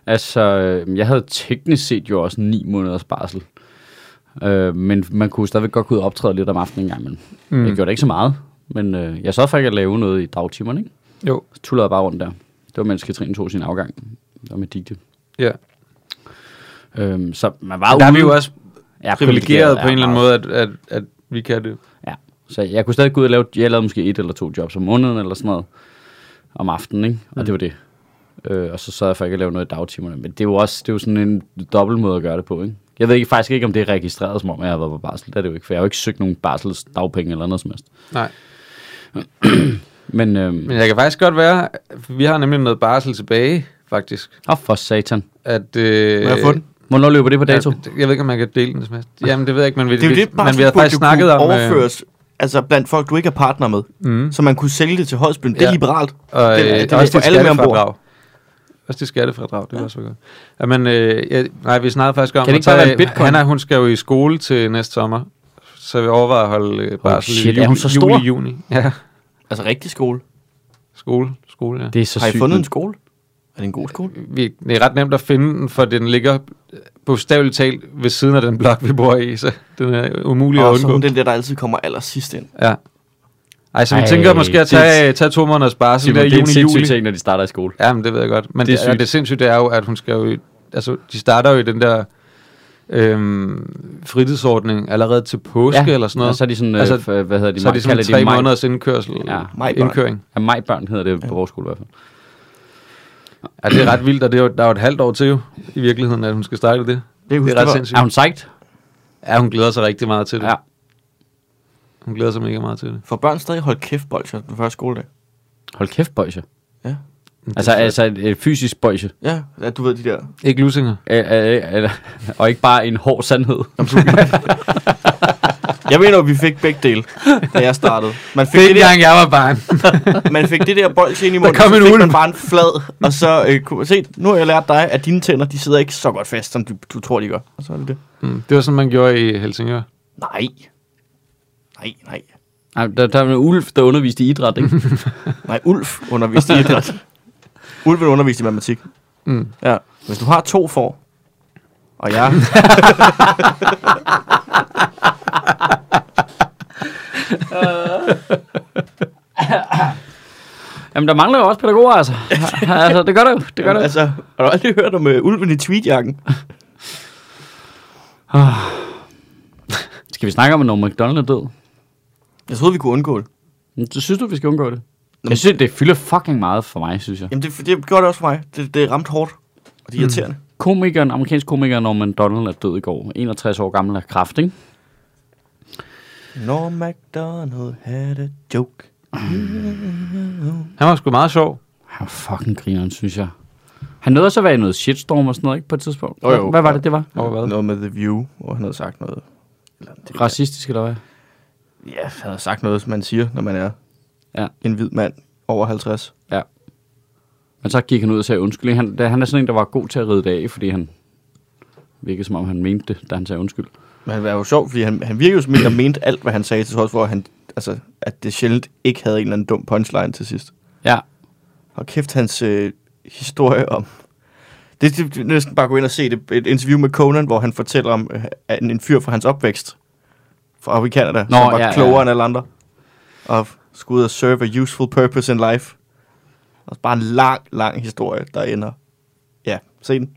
Speaker 2: Altså, øh, jeg havde teknisk set jo også 9 måneders barsel. Øh, men man kunne stadigvæk godt gå ud og optræde lidt om aftenen en gang imellem. Mm. Jeg gjorde det ikke så meget, Men øh, jeg sad faktisk at lave noget i dagtimerne, ikke?
Speaker 3: Jo.
Speaker 2: Så tullede jeg bare rundt der. Det var, mens Katrine tog sin afgang. Der var med digte.
Speaker 3: Ja.
Speaker 2: Øhm, så man var
Speaker 3: Der er
Speaker 2: ude.
Speaker 3: vi jo også
Speaker 2: ja,
Speaker 3: privilegeret på
Speaker 2: ja,
Speaker 3: en eller anden
Speaker 2: meget.
Speaker 3: måde, at, at, at vi kan det.
Speaker 2: Ja. Så jeg kunne stadig gå ud og lave, jeg lavede måske et eller to jobs om måneden eller sådan noget om aftenen, ikke? Og det
Speaker 3: Mm.
Speaker 2: var det. Øh, og så sad jeg for ikke at lave noget i dagtimerne. Men det er jo også det er jo sådan en dobbelt måde at gøre det på, ikke? Jeg ved ikke, faktisk ikke, om det er registreret, som om jeg har været på barsel. Det er det jo ikke, for jeg har jo ikke søgt nogen barselsdagpenge eller noget som helst.
Speaker 3: Nej.
Speaker 2: Men, øhm,
Speaker 3: Men jeg kan faktisk godt være, for vi har nemlig noget barsel tilbage, faktisk.
Speaker 2: åh, for satan.
Speaker 3: At, øh,
Speaker 1: Må jeg få den?
Speaker 2: Hvornår løber det på dato?
Speaker 3: Jeg, jeg ved ikke, om man kan dele den som helst. Jamen, det ved jeg ikke, men vi,
Speaker 1: Det er jo det,
Speaker 3: vi, men vi har
Speaker 1: burde
Speaker 3: faktisk
Speaker 1: jo
Speaker 3: snakket
Speaker 1: kunne
Speaker 3: om... øh,
Speaker 1: overføres altså blandt folk, du ikke er partner med,
Speaker 3: Mm.
Speaker 1: så man kunne sælge det til Højsbyen. Det er
Speaker 3: Ja.
Speaker 1: liberalt.
Speaker 3: Og
Speaker 1: Det-
Speaker 3: det, øh,
Speaker 1: det
Speaker 3: det,
Speaker 1: vil
Speaker 3: også
Speaker 1: få
Speaker 3: dit
Speaker 1: alle med
Speaker 3: skattefradrag. Også dit skattefradrag, det var så godt. Ja, men, øh, jeg, nej, vi snakkede faktisk om,
Speaker 2: Kan det
Speaker 3: at
Speaker 2: ikke bare
Speaker 3: tage-
Speaker 2: være bitcoin?
Speaker 3: Hanna, hun skal jo i skole til næste sommer, så vi overvejer at holde øh, barsel
Speaker 2: shit,
Speaker 3: i
Speaker 2: er
Speaker 3: juli,
Speaker 2: hun så stor?
Speaker 3: juli, juni. Ja,
Speaker 1: Altså rigtig skole.
Speaker 3: skole, skole, ja.
Speaker 2: Det er så
Speaker 1: Har I
Speaker 2: sygt.
Speaker 1: fundet en skole? Er det en god skole?
Speaker 3: Vi, det er ret nemt at finde den, for den ligger bogstaveligt talt ved siden af den blok, vi bor i, så den er umulig at
Speaker 1: Og så
Speaker 3: undgå.
Speaker 1: hun den der, der altid kommer allersidst ind.
Speaker 3: Ja. Ej, så vi
Speaker 2: Ej,
Speaker 3: tænker måske at
Speaker 2: det er-
Speaker 3: tage, tage to måneders barsel
Speaker 2: Simon,
Speaker 3: der i
Speaker 2: det er en
Speaker 3: juni, juli.
Speaker 2: sindssyg ting, når de starter i skole.
Speaker 3: Ja, men det ved jeg godt. Men
Speaker 2: Det er
Speaker 3: det, det,
Speaker 2: sygt.
Speaker 3: det sindssygt det er jo, at hun skal jo... i- Altså, de starter jo i den der øhm, fritidsordning allerede til påske ja, eller sådan
Speaker 2: Og
Speaker 3: noget.
Speaker 2: så er de sådan, altså,
Speaker 3: Altså,
Speaker 2: øh, hvad hedder de,
Speaker 3: så er det sådan
Speaker 2: kalder de
Speaker 3: tre
Speaker 2: maj-
Speaker 3: måneders indkørsel.
Speaker 2: Ja,
Speaker 1: majbarn.
Speaker 3: indkøring.
Speaker 2: Ja, majbørn hedder det på vores skole i hvert fald.
Speaker 3: Ja, det er ret vildt, og det er jo, der er jo et halvt år til jo, i virkeligheden, at hun skal starte det.
Speaker 1: Det,
Speaker 3: Det er ret sindssygt.
Speaker 2: Er hun sejt?
Speaker 3: Ja, hun glæder sig rigtig meget til det.
Speaker 2: Ja.
Speaker 3: Hun glæder sig mega meget til det.
Speaker 1: For børn stadig hold kæft, bolcher, den første skoledag.
Speaker 2: Hold kæft, bøjse.
Speaker 1: Ja.
Speaker 2: Altså, altså et, et fysisk bøjse.
Speaker 1: Ja, ja, du ved de der.
Speaker 3: Ikke lusinger.
Speaker 2: Æ, æ, æ, og ikke bare en hård sandhed.
Speaker 1: Jeg mener, at vi fik begge dele, da jeg startede. Man fik, det,
Speaker 3: Dengang jeg var barn.
Speaker 1: der, man fik det der bolsje ind i munden,
Speaker 3: kom
Speaker 1: så
Speaker 3: en
Speaker 1: fik
Speaker 3: ulv.
Speaker 1: man bare en flad, og så øh, kunne man se, nu har jeg lært dig, at dine tænder, de sidder ikke så godt fast, som du, du tror, de gør. Og så er det det.
Speaker 3: Mm, det var sådan, man gjorde i Helsingør.
Speaker 1: Nej. Nej, nej.
Speaker 2: Ej, der, der var en ulv, der underviste i idræt, ikke?
Speaker 1: Nej, Ulf underviste i idræt. Ulven underviste i matematik.
Speaker 3: Mm.
Speaker 1: Ja. Hvis du har to for, og jeg...
Speaker 2: Jamen, der mangler jo også pædagoger, altså. altså det gør der jo. Det gør der jo.
Speaker 1: altså, har du aldrig hørt om uh, ulven i tweetjakken? altså-
Speaker 2: Skal vi snakke om, når McDonald er død?
Speaker 1: Jeg troede, vi kunne undgå det.
Speaker 2: Men Så synes du, vi skal undgå det? Jeg synes, det fylder fucking meget for mig, synes jeg.
Speaker 1: Jamen, det, det gjorde det også for mig. Det, det ramte hårdt. Og det er irriterende. Mm.
Speaker 2: komikeren, amerikansk komiker Norman Donald er død i går. 61 år gammel af kraft, ikke?
Speaker 1: Når McDonald had a joke.
Speaker 3: Han var sgu meget sjov.
Speaker 2: Han var fucking grineren, synes jeg. Han nåede også at være i noget shitstorm og sådan noget, ikke? På et tidspunkt.
Speaker 1: Jo, jo.
Speaker 2: Hvad var det, det var?
Speaker 3: Over hvad?
Speaker 1: Noget med The View, hvor han havde sagt noget. Eller, det,
Speaker 2: Racistisk, eller hvad?
Speaker 1: ja, han havde sagt noget, som man siger, når man er
Speaker 2: Ja.
Speaker 1: en hvid mand over 50.
Speaker 2: Ja. Men så gik han ud og sagde undskyld. Han, da- han er sådan en, der var god til at ride det af, fordi han virkede som om, han mente det, da han sagde undskyld.
Speaker 1: Men han var jo sjov, fordi han, han virkede jo som en, der mente alt, hvad han sagde, til trods for, at, han, altså, at det sjældent ikke havde en eller anden dum punchline til sidst.
Speaker 2: Ja,
Speaker 1: Og kæft, hans øh, historie om... Det det- det er næsten bare at gå ind og se det, et interview med Conan, hvor han fortæller om øh, at en, en fyr fra hans opvækst fra oppe i Canada,
Speaker 2: Nå,
Speaker 1: som var
Speaker 2: ja, ja,
Speaker 1: klogere
Speaker 2: ja.
Speaker 1: end alle andre. Og skulle ud og serve a useful purpose in life. Og bare en lang, lang historie, der ender... Ja, se den.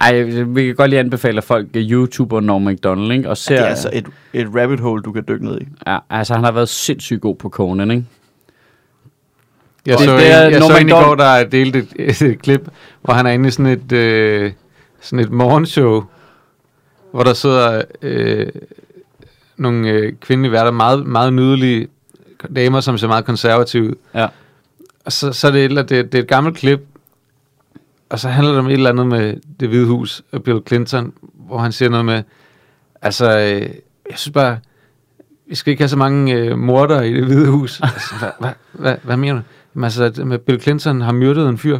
Speaker 2: ej, vi kan godt lige anbefale, at folk øh, YouTuber Norm MacDonald, ikke? Og ser,
Speaker 1: Det er altså et, et rabbit hole, du kan dykke ned i.
Speaker 2: ja, altså, han har været sindssygt god på Conan, ikke?
Speaker 3: Jeg
Speaker 2: Det-
Speaker 3: så,
Speaker 2: det
Speaker 3: det
Speaker 2: er
Speaker 3: en, jeg så
Speaker 2: Norman
Speaker 3: en i
Speaker 2: Dahl.
Speaker 3: går, der delte et, et klip, hvor han er inde i sådan et, øh, sådan et morgenshow, hvor der sidder øh, nogle øh, kvindelige værter, meget, meget nydelige damer, som ser meget konservative ud.
Speaker 2: Ja.
Speaker 3: Og så, så er det, et, eller- det, det er et gammelt klip, og så handler det om et eller andet med det hvide hus og Bill Clinton, hvor han siger noget med, altså, øh, jeg synes bare, vi skal ikke have så mange øh, morder i det hvide hus. Altså, hvad, hvad, hvad, hvad mener du? Jamen, altså, at med Bill Clinton har myrdet en fyr.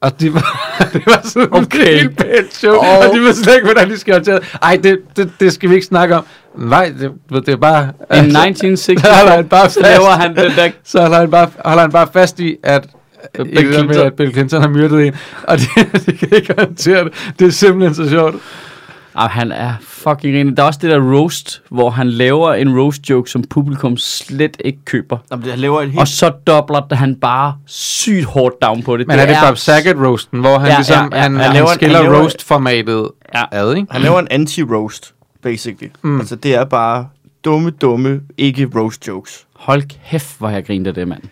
Speaker 3: Og det var, det var sådan okay. en helt pænt show, oh. og de ved slet ikke, hvordan de skal håndtere det. Ej, det, det, det skal vi ikke snakke om. Nej, det, det er bare...
Speaker 2: In 1960,
Speaker 3: der holder han bare
Speaker 2: så
Speaker 3: fast.
Speaker 2: laver han den der
Speaker 3: Så holder han bare, holder han bare fast i, at
Speaker 2: Bill
Speaker 3: Bill Clinton. Med,
Speaker 2: Clinton.
Speaker 3: at Bill Clinton har myrdet en, og de, de kan ikke håndtere det. Det er simpelthen så sjovt.
Speaker 2: Ah, han er fucking ren. Der er også det der roast, hvor han laver en roast joke, som publikum slet ikke køber.
Speaker 1: Jamen, det, han laver et helt...
Speaker 2: Og så dobler han bare sygt hårdt down på det.
Speaker 3: Men er det Bob Saget-roasten, hvor han
Speaker 2: Ja,
Speaker 3: ja,
Speaker 2: ja,
Speaker 3: ligesom, ja,
Speaker 2: ja.
Speaker 3: ja, han,
Speaker 1: Han
Speaker 3: han,
Speaker 1: laver-
Speaker 3: han skiller
Speaker 1: han laver-
Speaker 3: roast-formatet
Speaker 2: Ja.
Speaker 3: ad, ikke?
Speaker 1: Han laver en anti-roast, basically. Mm. Altså, det er bare dumme, dumme, ikke roast jokes.
Speaker 2: Hold kæft, hvor jeg griner det, mand.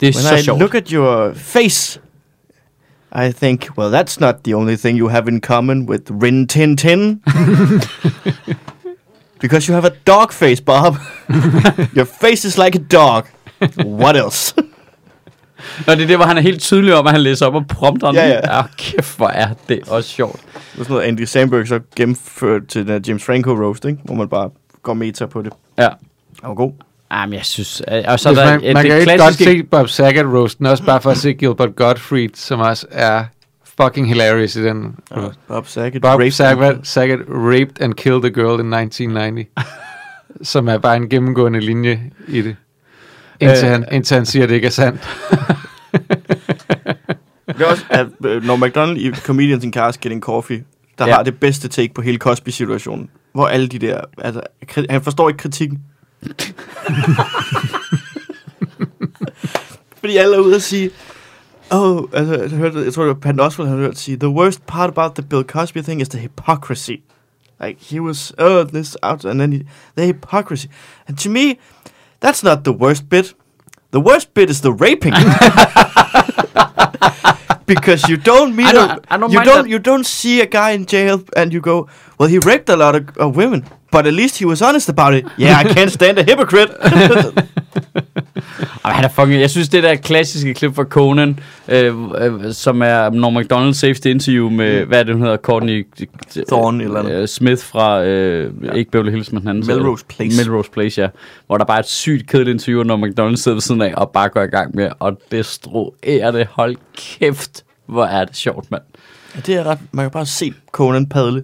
Speaker 2: Det er
Speaker 1: When
Speaker 2: så
Speaker 1: I
Speaker 2: sjovt.
Speaker 1: look at your face, I think, well, that's not the only thing you have in common with Rin Tin Tin. Because you have a dog face, Bob. your face is like a dog. What else?
Speaker 2: Og det er det, hvor han er helt tydelig om, at han læser op og prompter
Speaker 1: Ja, ja.
Speaker 2: Ah, kæft, hvor er det også sjovt.
Speaker 1: Det er sådan noget, Andy Samberg så gennemførte til den her James Franco-roast, ikke? Hvor man bare går meta på det.
Speaker 2: Ja.
Speaker 1: Han var god.
Speaker 2: Ah, men jeg synes... øh, Og så
Speaker 3: Så
Speaker 2: er
Speaker 3: Hvis man,
Speaker 2: der øh,
Speaker 3: man
Speaker 2: det
Speaker 3: kan ikke godt
Speaker 2: klassiske-
Speaker 3: se Bob Saget-roasten, også bare for at se Gilbert Gottfried, som også er fucking hilarious i den.
Speaker 1: Ja. Bob Saget.
Speaker 3: Bob
Speaker 1: raped
Speaker 3: Saget, Saget raped and killed a girl in 1990, som er bare en gennemgående linje i det. Indtil,
Speaker 2: Øh.
Speaker 3: han, indtil han siger, at det ikke er sandt.
Speaker 1: Det er også, at øh, når McDonald i Comedians in Cars Getting Coffee, der
Speaker 2: Ja.
Speaker 1: ja. har det bedste take på hele Cosby-situationen, hvor alle de der, altså, kri- han forstår ikke kritikken. Fordi alle er ude og sige, oh, altså, jeg, hørte, jeg tror, det var Pat Oswald, han hørte sige, the worst part about the Bill Cosby thing is the hypocrisy. Like, he was, oh, this out, and then he, the hypocrisy. And to me, that's not the worst bit. The worst bit is the raping. because you don't meet
Speaker 2: I don't-
Speaker 1: a,
Speaker 2: I don't
Speaker 1: you
Speaker 2: mind
Speaker 1: don't
Speaker 2: that.
Speaker 1: you don't see a guy in jail and you go, well, he raped a lot of, of women, but at least he was honest about it. Yeah, I can't stand a hypocrite.
Speaker 2: Jamen, han er fucking... Jeg synes, det der klassiske klip fra Conan, øh, øh, som er når McDonald saves det interview med, mm. hvad er det, hun hedder, Courtney...
Speaker 1: Thorne eller andet.
Speaker 2: øh, Smith fra, øh, ja. ikke Beverly Hills, men den anden. serie.
Speaker 1: Melrose Place.
Speaker 2: Melrose Place, ja. Hvor der bare er et sygt kedeligt interview, når McDonald sidder ved siden af og bare går i gang med at destruere det. Hold kæft, hvor er det sjovt, mand.
Speaker 1: det er ret, man kan bare se Conan padle.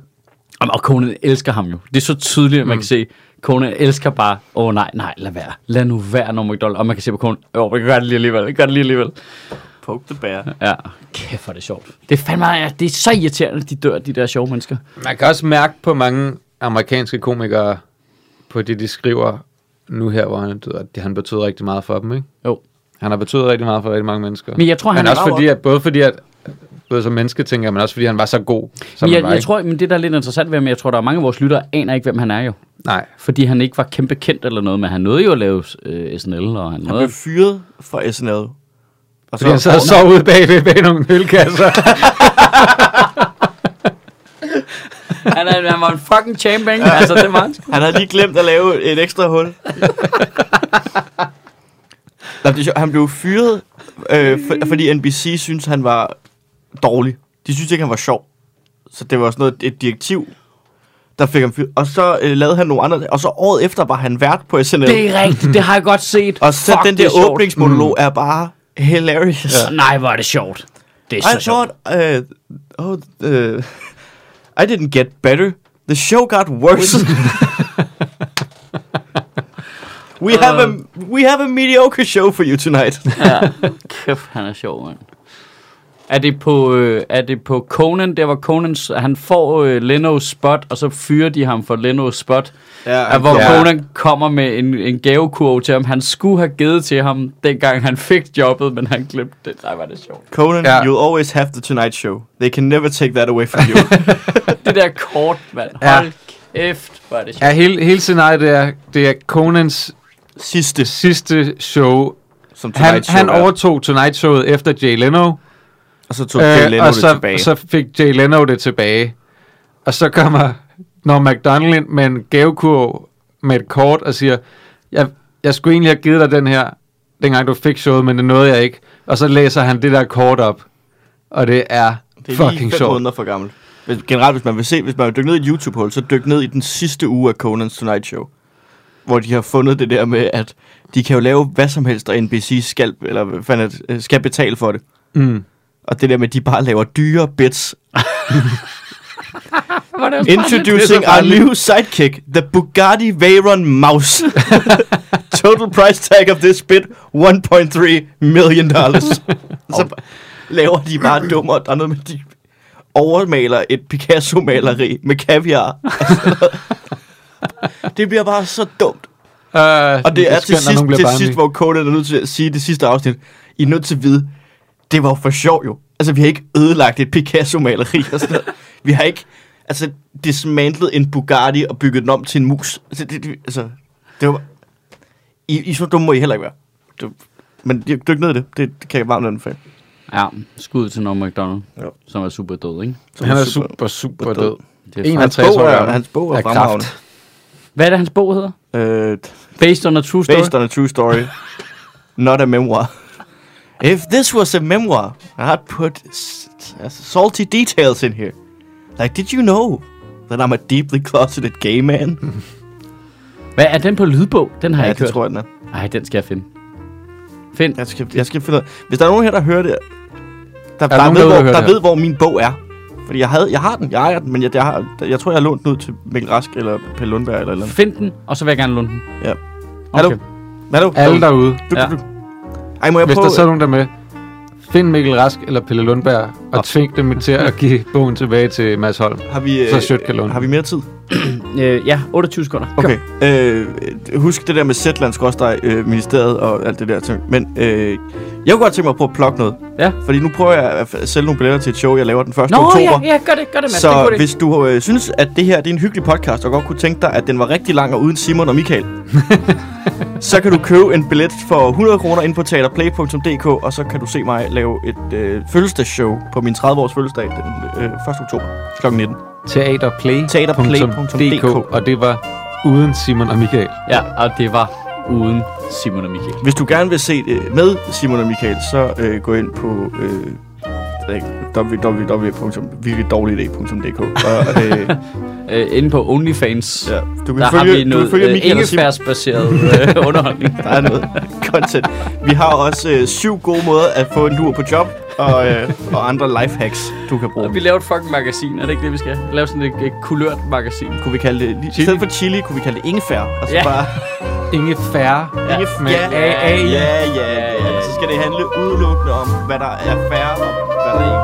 Speaker 2: Jamen, Og Conan elsker ham jo. Det er så tydeligt, at man kan se, Conan elsker bare, åh oh, nej, nej, lad være. Lad nu være, når McDonald. Og man kan se på Conan, åh, oh, gør det lige alligevel, jeg gør det lige alligevel.
Speaker 1: Poke the bear.
Speaker 2: Ja, kæft hvor er det sjort. Det er fandme, ja, det er så irriterende, de dør, de der sjove mennesker.
Speaker 3: Man kan også mærke på mange amerikanske komikere, på det, de skriver nu her, hvor han, død, at han betyder rigtig meget for dem, ikke?
Speaker 2: Jo.
Speaker 3: Han har betydet rigtig meget for rigtig mange mennesker.
Speaker 2: Men jeg tror,
Speaker 3: men
Speaker 2: han er
Speaker 3: også
Speaker 2: meget
Speaker 3: fordi, at, både fordi, at både som menneske tænker, jeg, men også fordi han var så god, som
Speaker 2: Men
Speaker 3: han var,
Speaker 2: jeg, jeg
Speaker 3: ikke?
Speaker 2: tror, men det der er lidt interessant ved ham, jeg tror, der er mange af vores lyttere, aner ikke, hvem han er jo.
Speaker 3: Nej.
Speaker 2: Fordi han ikke var kæmpe kendt eller noget, men han nåede jo at lave øh, SNL, og han
Speaker 1: Han blev
Speaker 2: nåede...
Speaker 1: fyret fra SNL. Og
Speaker 3: Fordi han sad og sov ude bag, ved- bag nogle ølkasser.
Speaker 2: han, er, han var en fucking champion, altså det var han sgu.
Speaker 1: Han havde lige glemt at lave et ekstra hul. Nå, det er sjovt. han blev fyret, øh, for, fordi NBC synes han var dårlig. De synes ikke, han var sjov. Så det var sådan noget, et direktiv, der fik ham fyret. Og så øh, lavede han nogle andre, og så året efter var han vært på SNL.
Speaker 2: Det er rigtigt, det har jeg godt set.
Speaker 1: og så
Speaker 2: Fuck,
Speaker 1: den
Speaker 2: det
Speaker 1: der
Speaker 2: er sjovt. Mm.
Speaker 1: åbningsmonolog er bare hilarious.
Speaker 2: Så, nej, hvor er det sjovt. Det er så
Speaker 1: I
Speaker 2: sjovt.
Speaker 1: thought, uh, oh, uh, I didn't get better. The show got worse. we have a we have a mediocre show for you tonight.
Speaker 2: Kæft, han er sjov, mand. Er det på, øh, er det på Conan, der var Conans, han får øh, Lenos spot, og så fyrer de ham for Lenos spot,
Speaker 1: Ja,
Speaker 2: ja, hvor
Speaker 3: ja.
Speaker 2: Conan kommer med en, en gavekurve til ham, han skulle have givet til ham, dengang han fik jobbet, men han glemte det. Nej, var det sjovt.
Speaker 1: Conan,
Speaker 3: Ja.
Speaker 1: you'll always have the Tonight Show. They can never take that away from you.
Speaker 2: Det der kort, mand.
Speaker 3: Ja.
Speaker 2: Hold kæft, hvor er det sjovt.
Speaker 3: Ja, hele, hele scenariet det er, det er Conans
Speaker 1: Sidste
Speaker 3: sidste show.
Speaker 1: som Tonight
Speaker 3: Han,
Speaker 1: Show.
Speaker 3: han
Speaker 1: er.
Speaker 3: overtog Tonight-showet efter Jay Leno.
Speaker 1: og så tog Jay Leno
Speaker 3: Øh, og
Speaker 1: det
Speaker 3: så,
Speaker 1: tilbage.
Speaker 3: så fik Jay Leno det tilbage. Og så kommer når McDonald ind med en gavekurv med et kort og siger, jeg, jeg skulle egentlig have givet dig den her, dengang du fik showet, men det nåede jeg ikke. Og så læser han det der kort op, og det
Speaker 1: det
Speaker 3: er,
Speaker 1: er lige
Speaker 3: fucking
Speaker 1: fem
Speaker 3: sjovt.
Speaker 1: måneder for gammelt. Hvis, generelt, hvis man vil se, hvis man vil dykke ned i et YouTube-hul, så dyk ned i den sidste uge af Conans Tonight Show. Hvor de har fundet det der med, at de kan jo lave hvad som helst, og NBC skal, eller hvad fanden er det, øh, skal betale for det.
Speaker 3: Mm.
Speaker 1: Og det der med, at de bare laver dyre bits.
Speaker 2: Var det også bare lidt-
Speaker 1: Introducing our new sidekick, the Bugatti Veyron Mouse. Total price tag of this bit, 1.3 million dollars. så laver de bare dumme, og der er noget med de... overmaler et Picasso-maleri med kaviar. det bliver bare så dumt.
Speaker 3: Øh,
Speaker 1: Og det, det er til
Speaker 3: skønt, når
Speaker 1: sidst,
Speaker 3: nogen bliver
Speaker 1: til
Speaker 3: barnlige.
Speaker 1: sidst hvor Conan er nødt til at sige i det sidste afsnit, I er nødt til at vide, det var jo for sjov jo. Altså, vi har ikke ødelagt et Picasso-maleri og sådan noget. Vi har ikke altså, dismantlet en Bugatti og bygget den om til en mus. Altså, det, det, altså, det var... I, I så dumme må I heller ikke være. Det, men dyk dyk ned i det. Det, det kan jeg varmt anbefale.
Speaker 2: Ja, skud til Norm MacDonald,
Speaker 1: Ja.
Speaker 2: ja. som er super død, ikke?
Speaker 1: Så
Speaker 3: Han er
Speaker 1: super-
Speaker 3: super, super
Speaker 1: super
Speaker 3: død.
Speaker 1: død.
Speaker 2: Det er
Speaker 3: En af-
Speaker 2: fra-
Speaker 1: Hans
Speaker 3: 50
Speaker 1: bog
Speaker 3: år
Speaker 1: er,
Speaker 3: gammel.
Speaker 1: hans bog er
Speaker 3: Af kraft.
Speaker 1: fremragende.
Speaker 2: Hvad er det, hans bog hedder?
Speaker 1: Øh,
Speaker 2: Based on a True Story?
Speaker 1: based on a true story. Not a memoir. If this was a memoir, I'd put s- uh, salty details in here. Like, did you know that I'm a deeply closeted gay man?
Speaker 2: Hvad er den på lydbog? Den har
Speaker 1: ja,
Speaker 2: jeg ikke
Speaker 1: det
Speaker 2: hørt.
Speaker 1: tror jeg, den er.
Speaker 2: Nej, den skal jeg finde. Find.
Speaker 1: Jeg skal, jeg skal finde ud af. Hvis der er nogen her, der hører det, der, der,
Speaker 3: nogen
Speaker 1: der, ved,
Speaker 3: derude,
Speaker 1: hvor,
Speaker 3: der hører
Speaker 1: der
Speaker 3: det her?
Speaker 1: ved, hvor min bog er. Fordi jeg, havde, jeg har den, jeg ejer den, men jeg, jeg, har, jeg tror, jeg har lånt den ud til Mikkel Rask eller Pelle Lundberg eller et eller andet.
Speaker 2: Find den, og så vil jeg gerne låne den.
Speaker 1: Ja.
Speaker 2: Okay.
Speaker 1: Hallo? Hallo?
Speaker 3: Alle derude,
Speaker 1: Du,
Speaker 2: Ja.
Speaker 1: du, du. Ej, må jeg
Speaker 3: hvis
Speaker 1: prøve?
Speaker 3: der sidder nogen der med, find Mikkel Rask eller Pelle Lundberg, og tving dem til at give bogen tilbage til Mads Holm.
Speaker 1: Har vi, øh,
Speaker 3: Så sødt kan låne.
Speaker 1: har vi mere tid?
Speaker 2: Øh, ja, 28 sekunder.
Speaker 1: Okay. Øh, husk det der med Zetland, skråstrej, øh, ministeriet og alt det der ting. Men øh, jeg kunne godt tænke mig at prøve at plukke noget.
Speaker 2: Ja.
Speaker 1: Fordi nu prøver jeg at f- sælge nogle billetter til et show, jeg laver den 1.
Speaker 2: Nå,
Speaker 1: oktober.
Speaker 2: ja, ja, gør det, gør det, Mads. det er en god
Speaker 1: Så
Speaker 2: idé.
Speaker 1: hvis du øh, synes, at det her det er en hyggelig podcast, og godt kunne tænke dig, at den var rigtig lang og uden Simon og Michael, så kan du købe en billet for 100 kroner ind på teaterplay.dk, og så kan du se mig lave et øh, fødselsdagsshow på min 30-års fødselsdag den øh, 1. oktober kl. 19.
Speaker 3: Teaterplay.dk
Speaker 1: Teaterplay.dk.
Speaker 3: Og det var uden Simon og Michael.
Speaker 2: Ja, og det var uden Simon og Michael.
Speaker 1: Hvis du gerne vil se det med Simon og Michael, så øh, gå ind på øh, www.virkedårligdag.dk og, øh,
Speaker 2: Øh, inde på OnlyFans, ja.
Speaker 1: ja, du kan
Speaker 2: der har vi
Speaker 1: følge, du
Speaker 2: noget
Speaker 1: kan følge
Speaker 2: øh,
Speaker 1: Michael og Simon.
Speaker 2: ingefærsbaseret øh, underholdning.
Speaker 1: Der er noget content. Vi har også øh, syv gode måder at få en lur på job og, øh, og andre lifehacks, du kan bruge.
Speaker 2: Og vi laver et fucking magasin, er det ikke det, vi skal? Lave sådan et, et kulørt magasin.
Speaker 1: Kunne vi kalde det, i stedet for chili, kunne vi kalde det ingefær. Og så
Speaker 2: Ja.
Speaker 1: bare,
Speaker 3: Inge færre.
Speaker 1: ja,
Speaker 3: Med
Speaker 1: ja,
Speaker 3: A-A-I.
Speaker 1: ja, ja, ja, Så skal det handle udelukkende om, hvad der er færre og hvad der ikke er.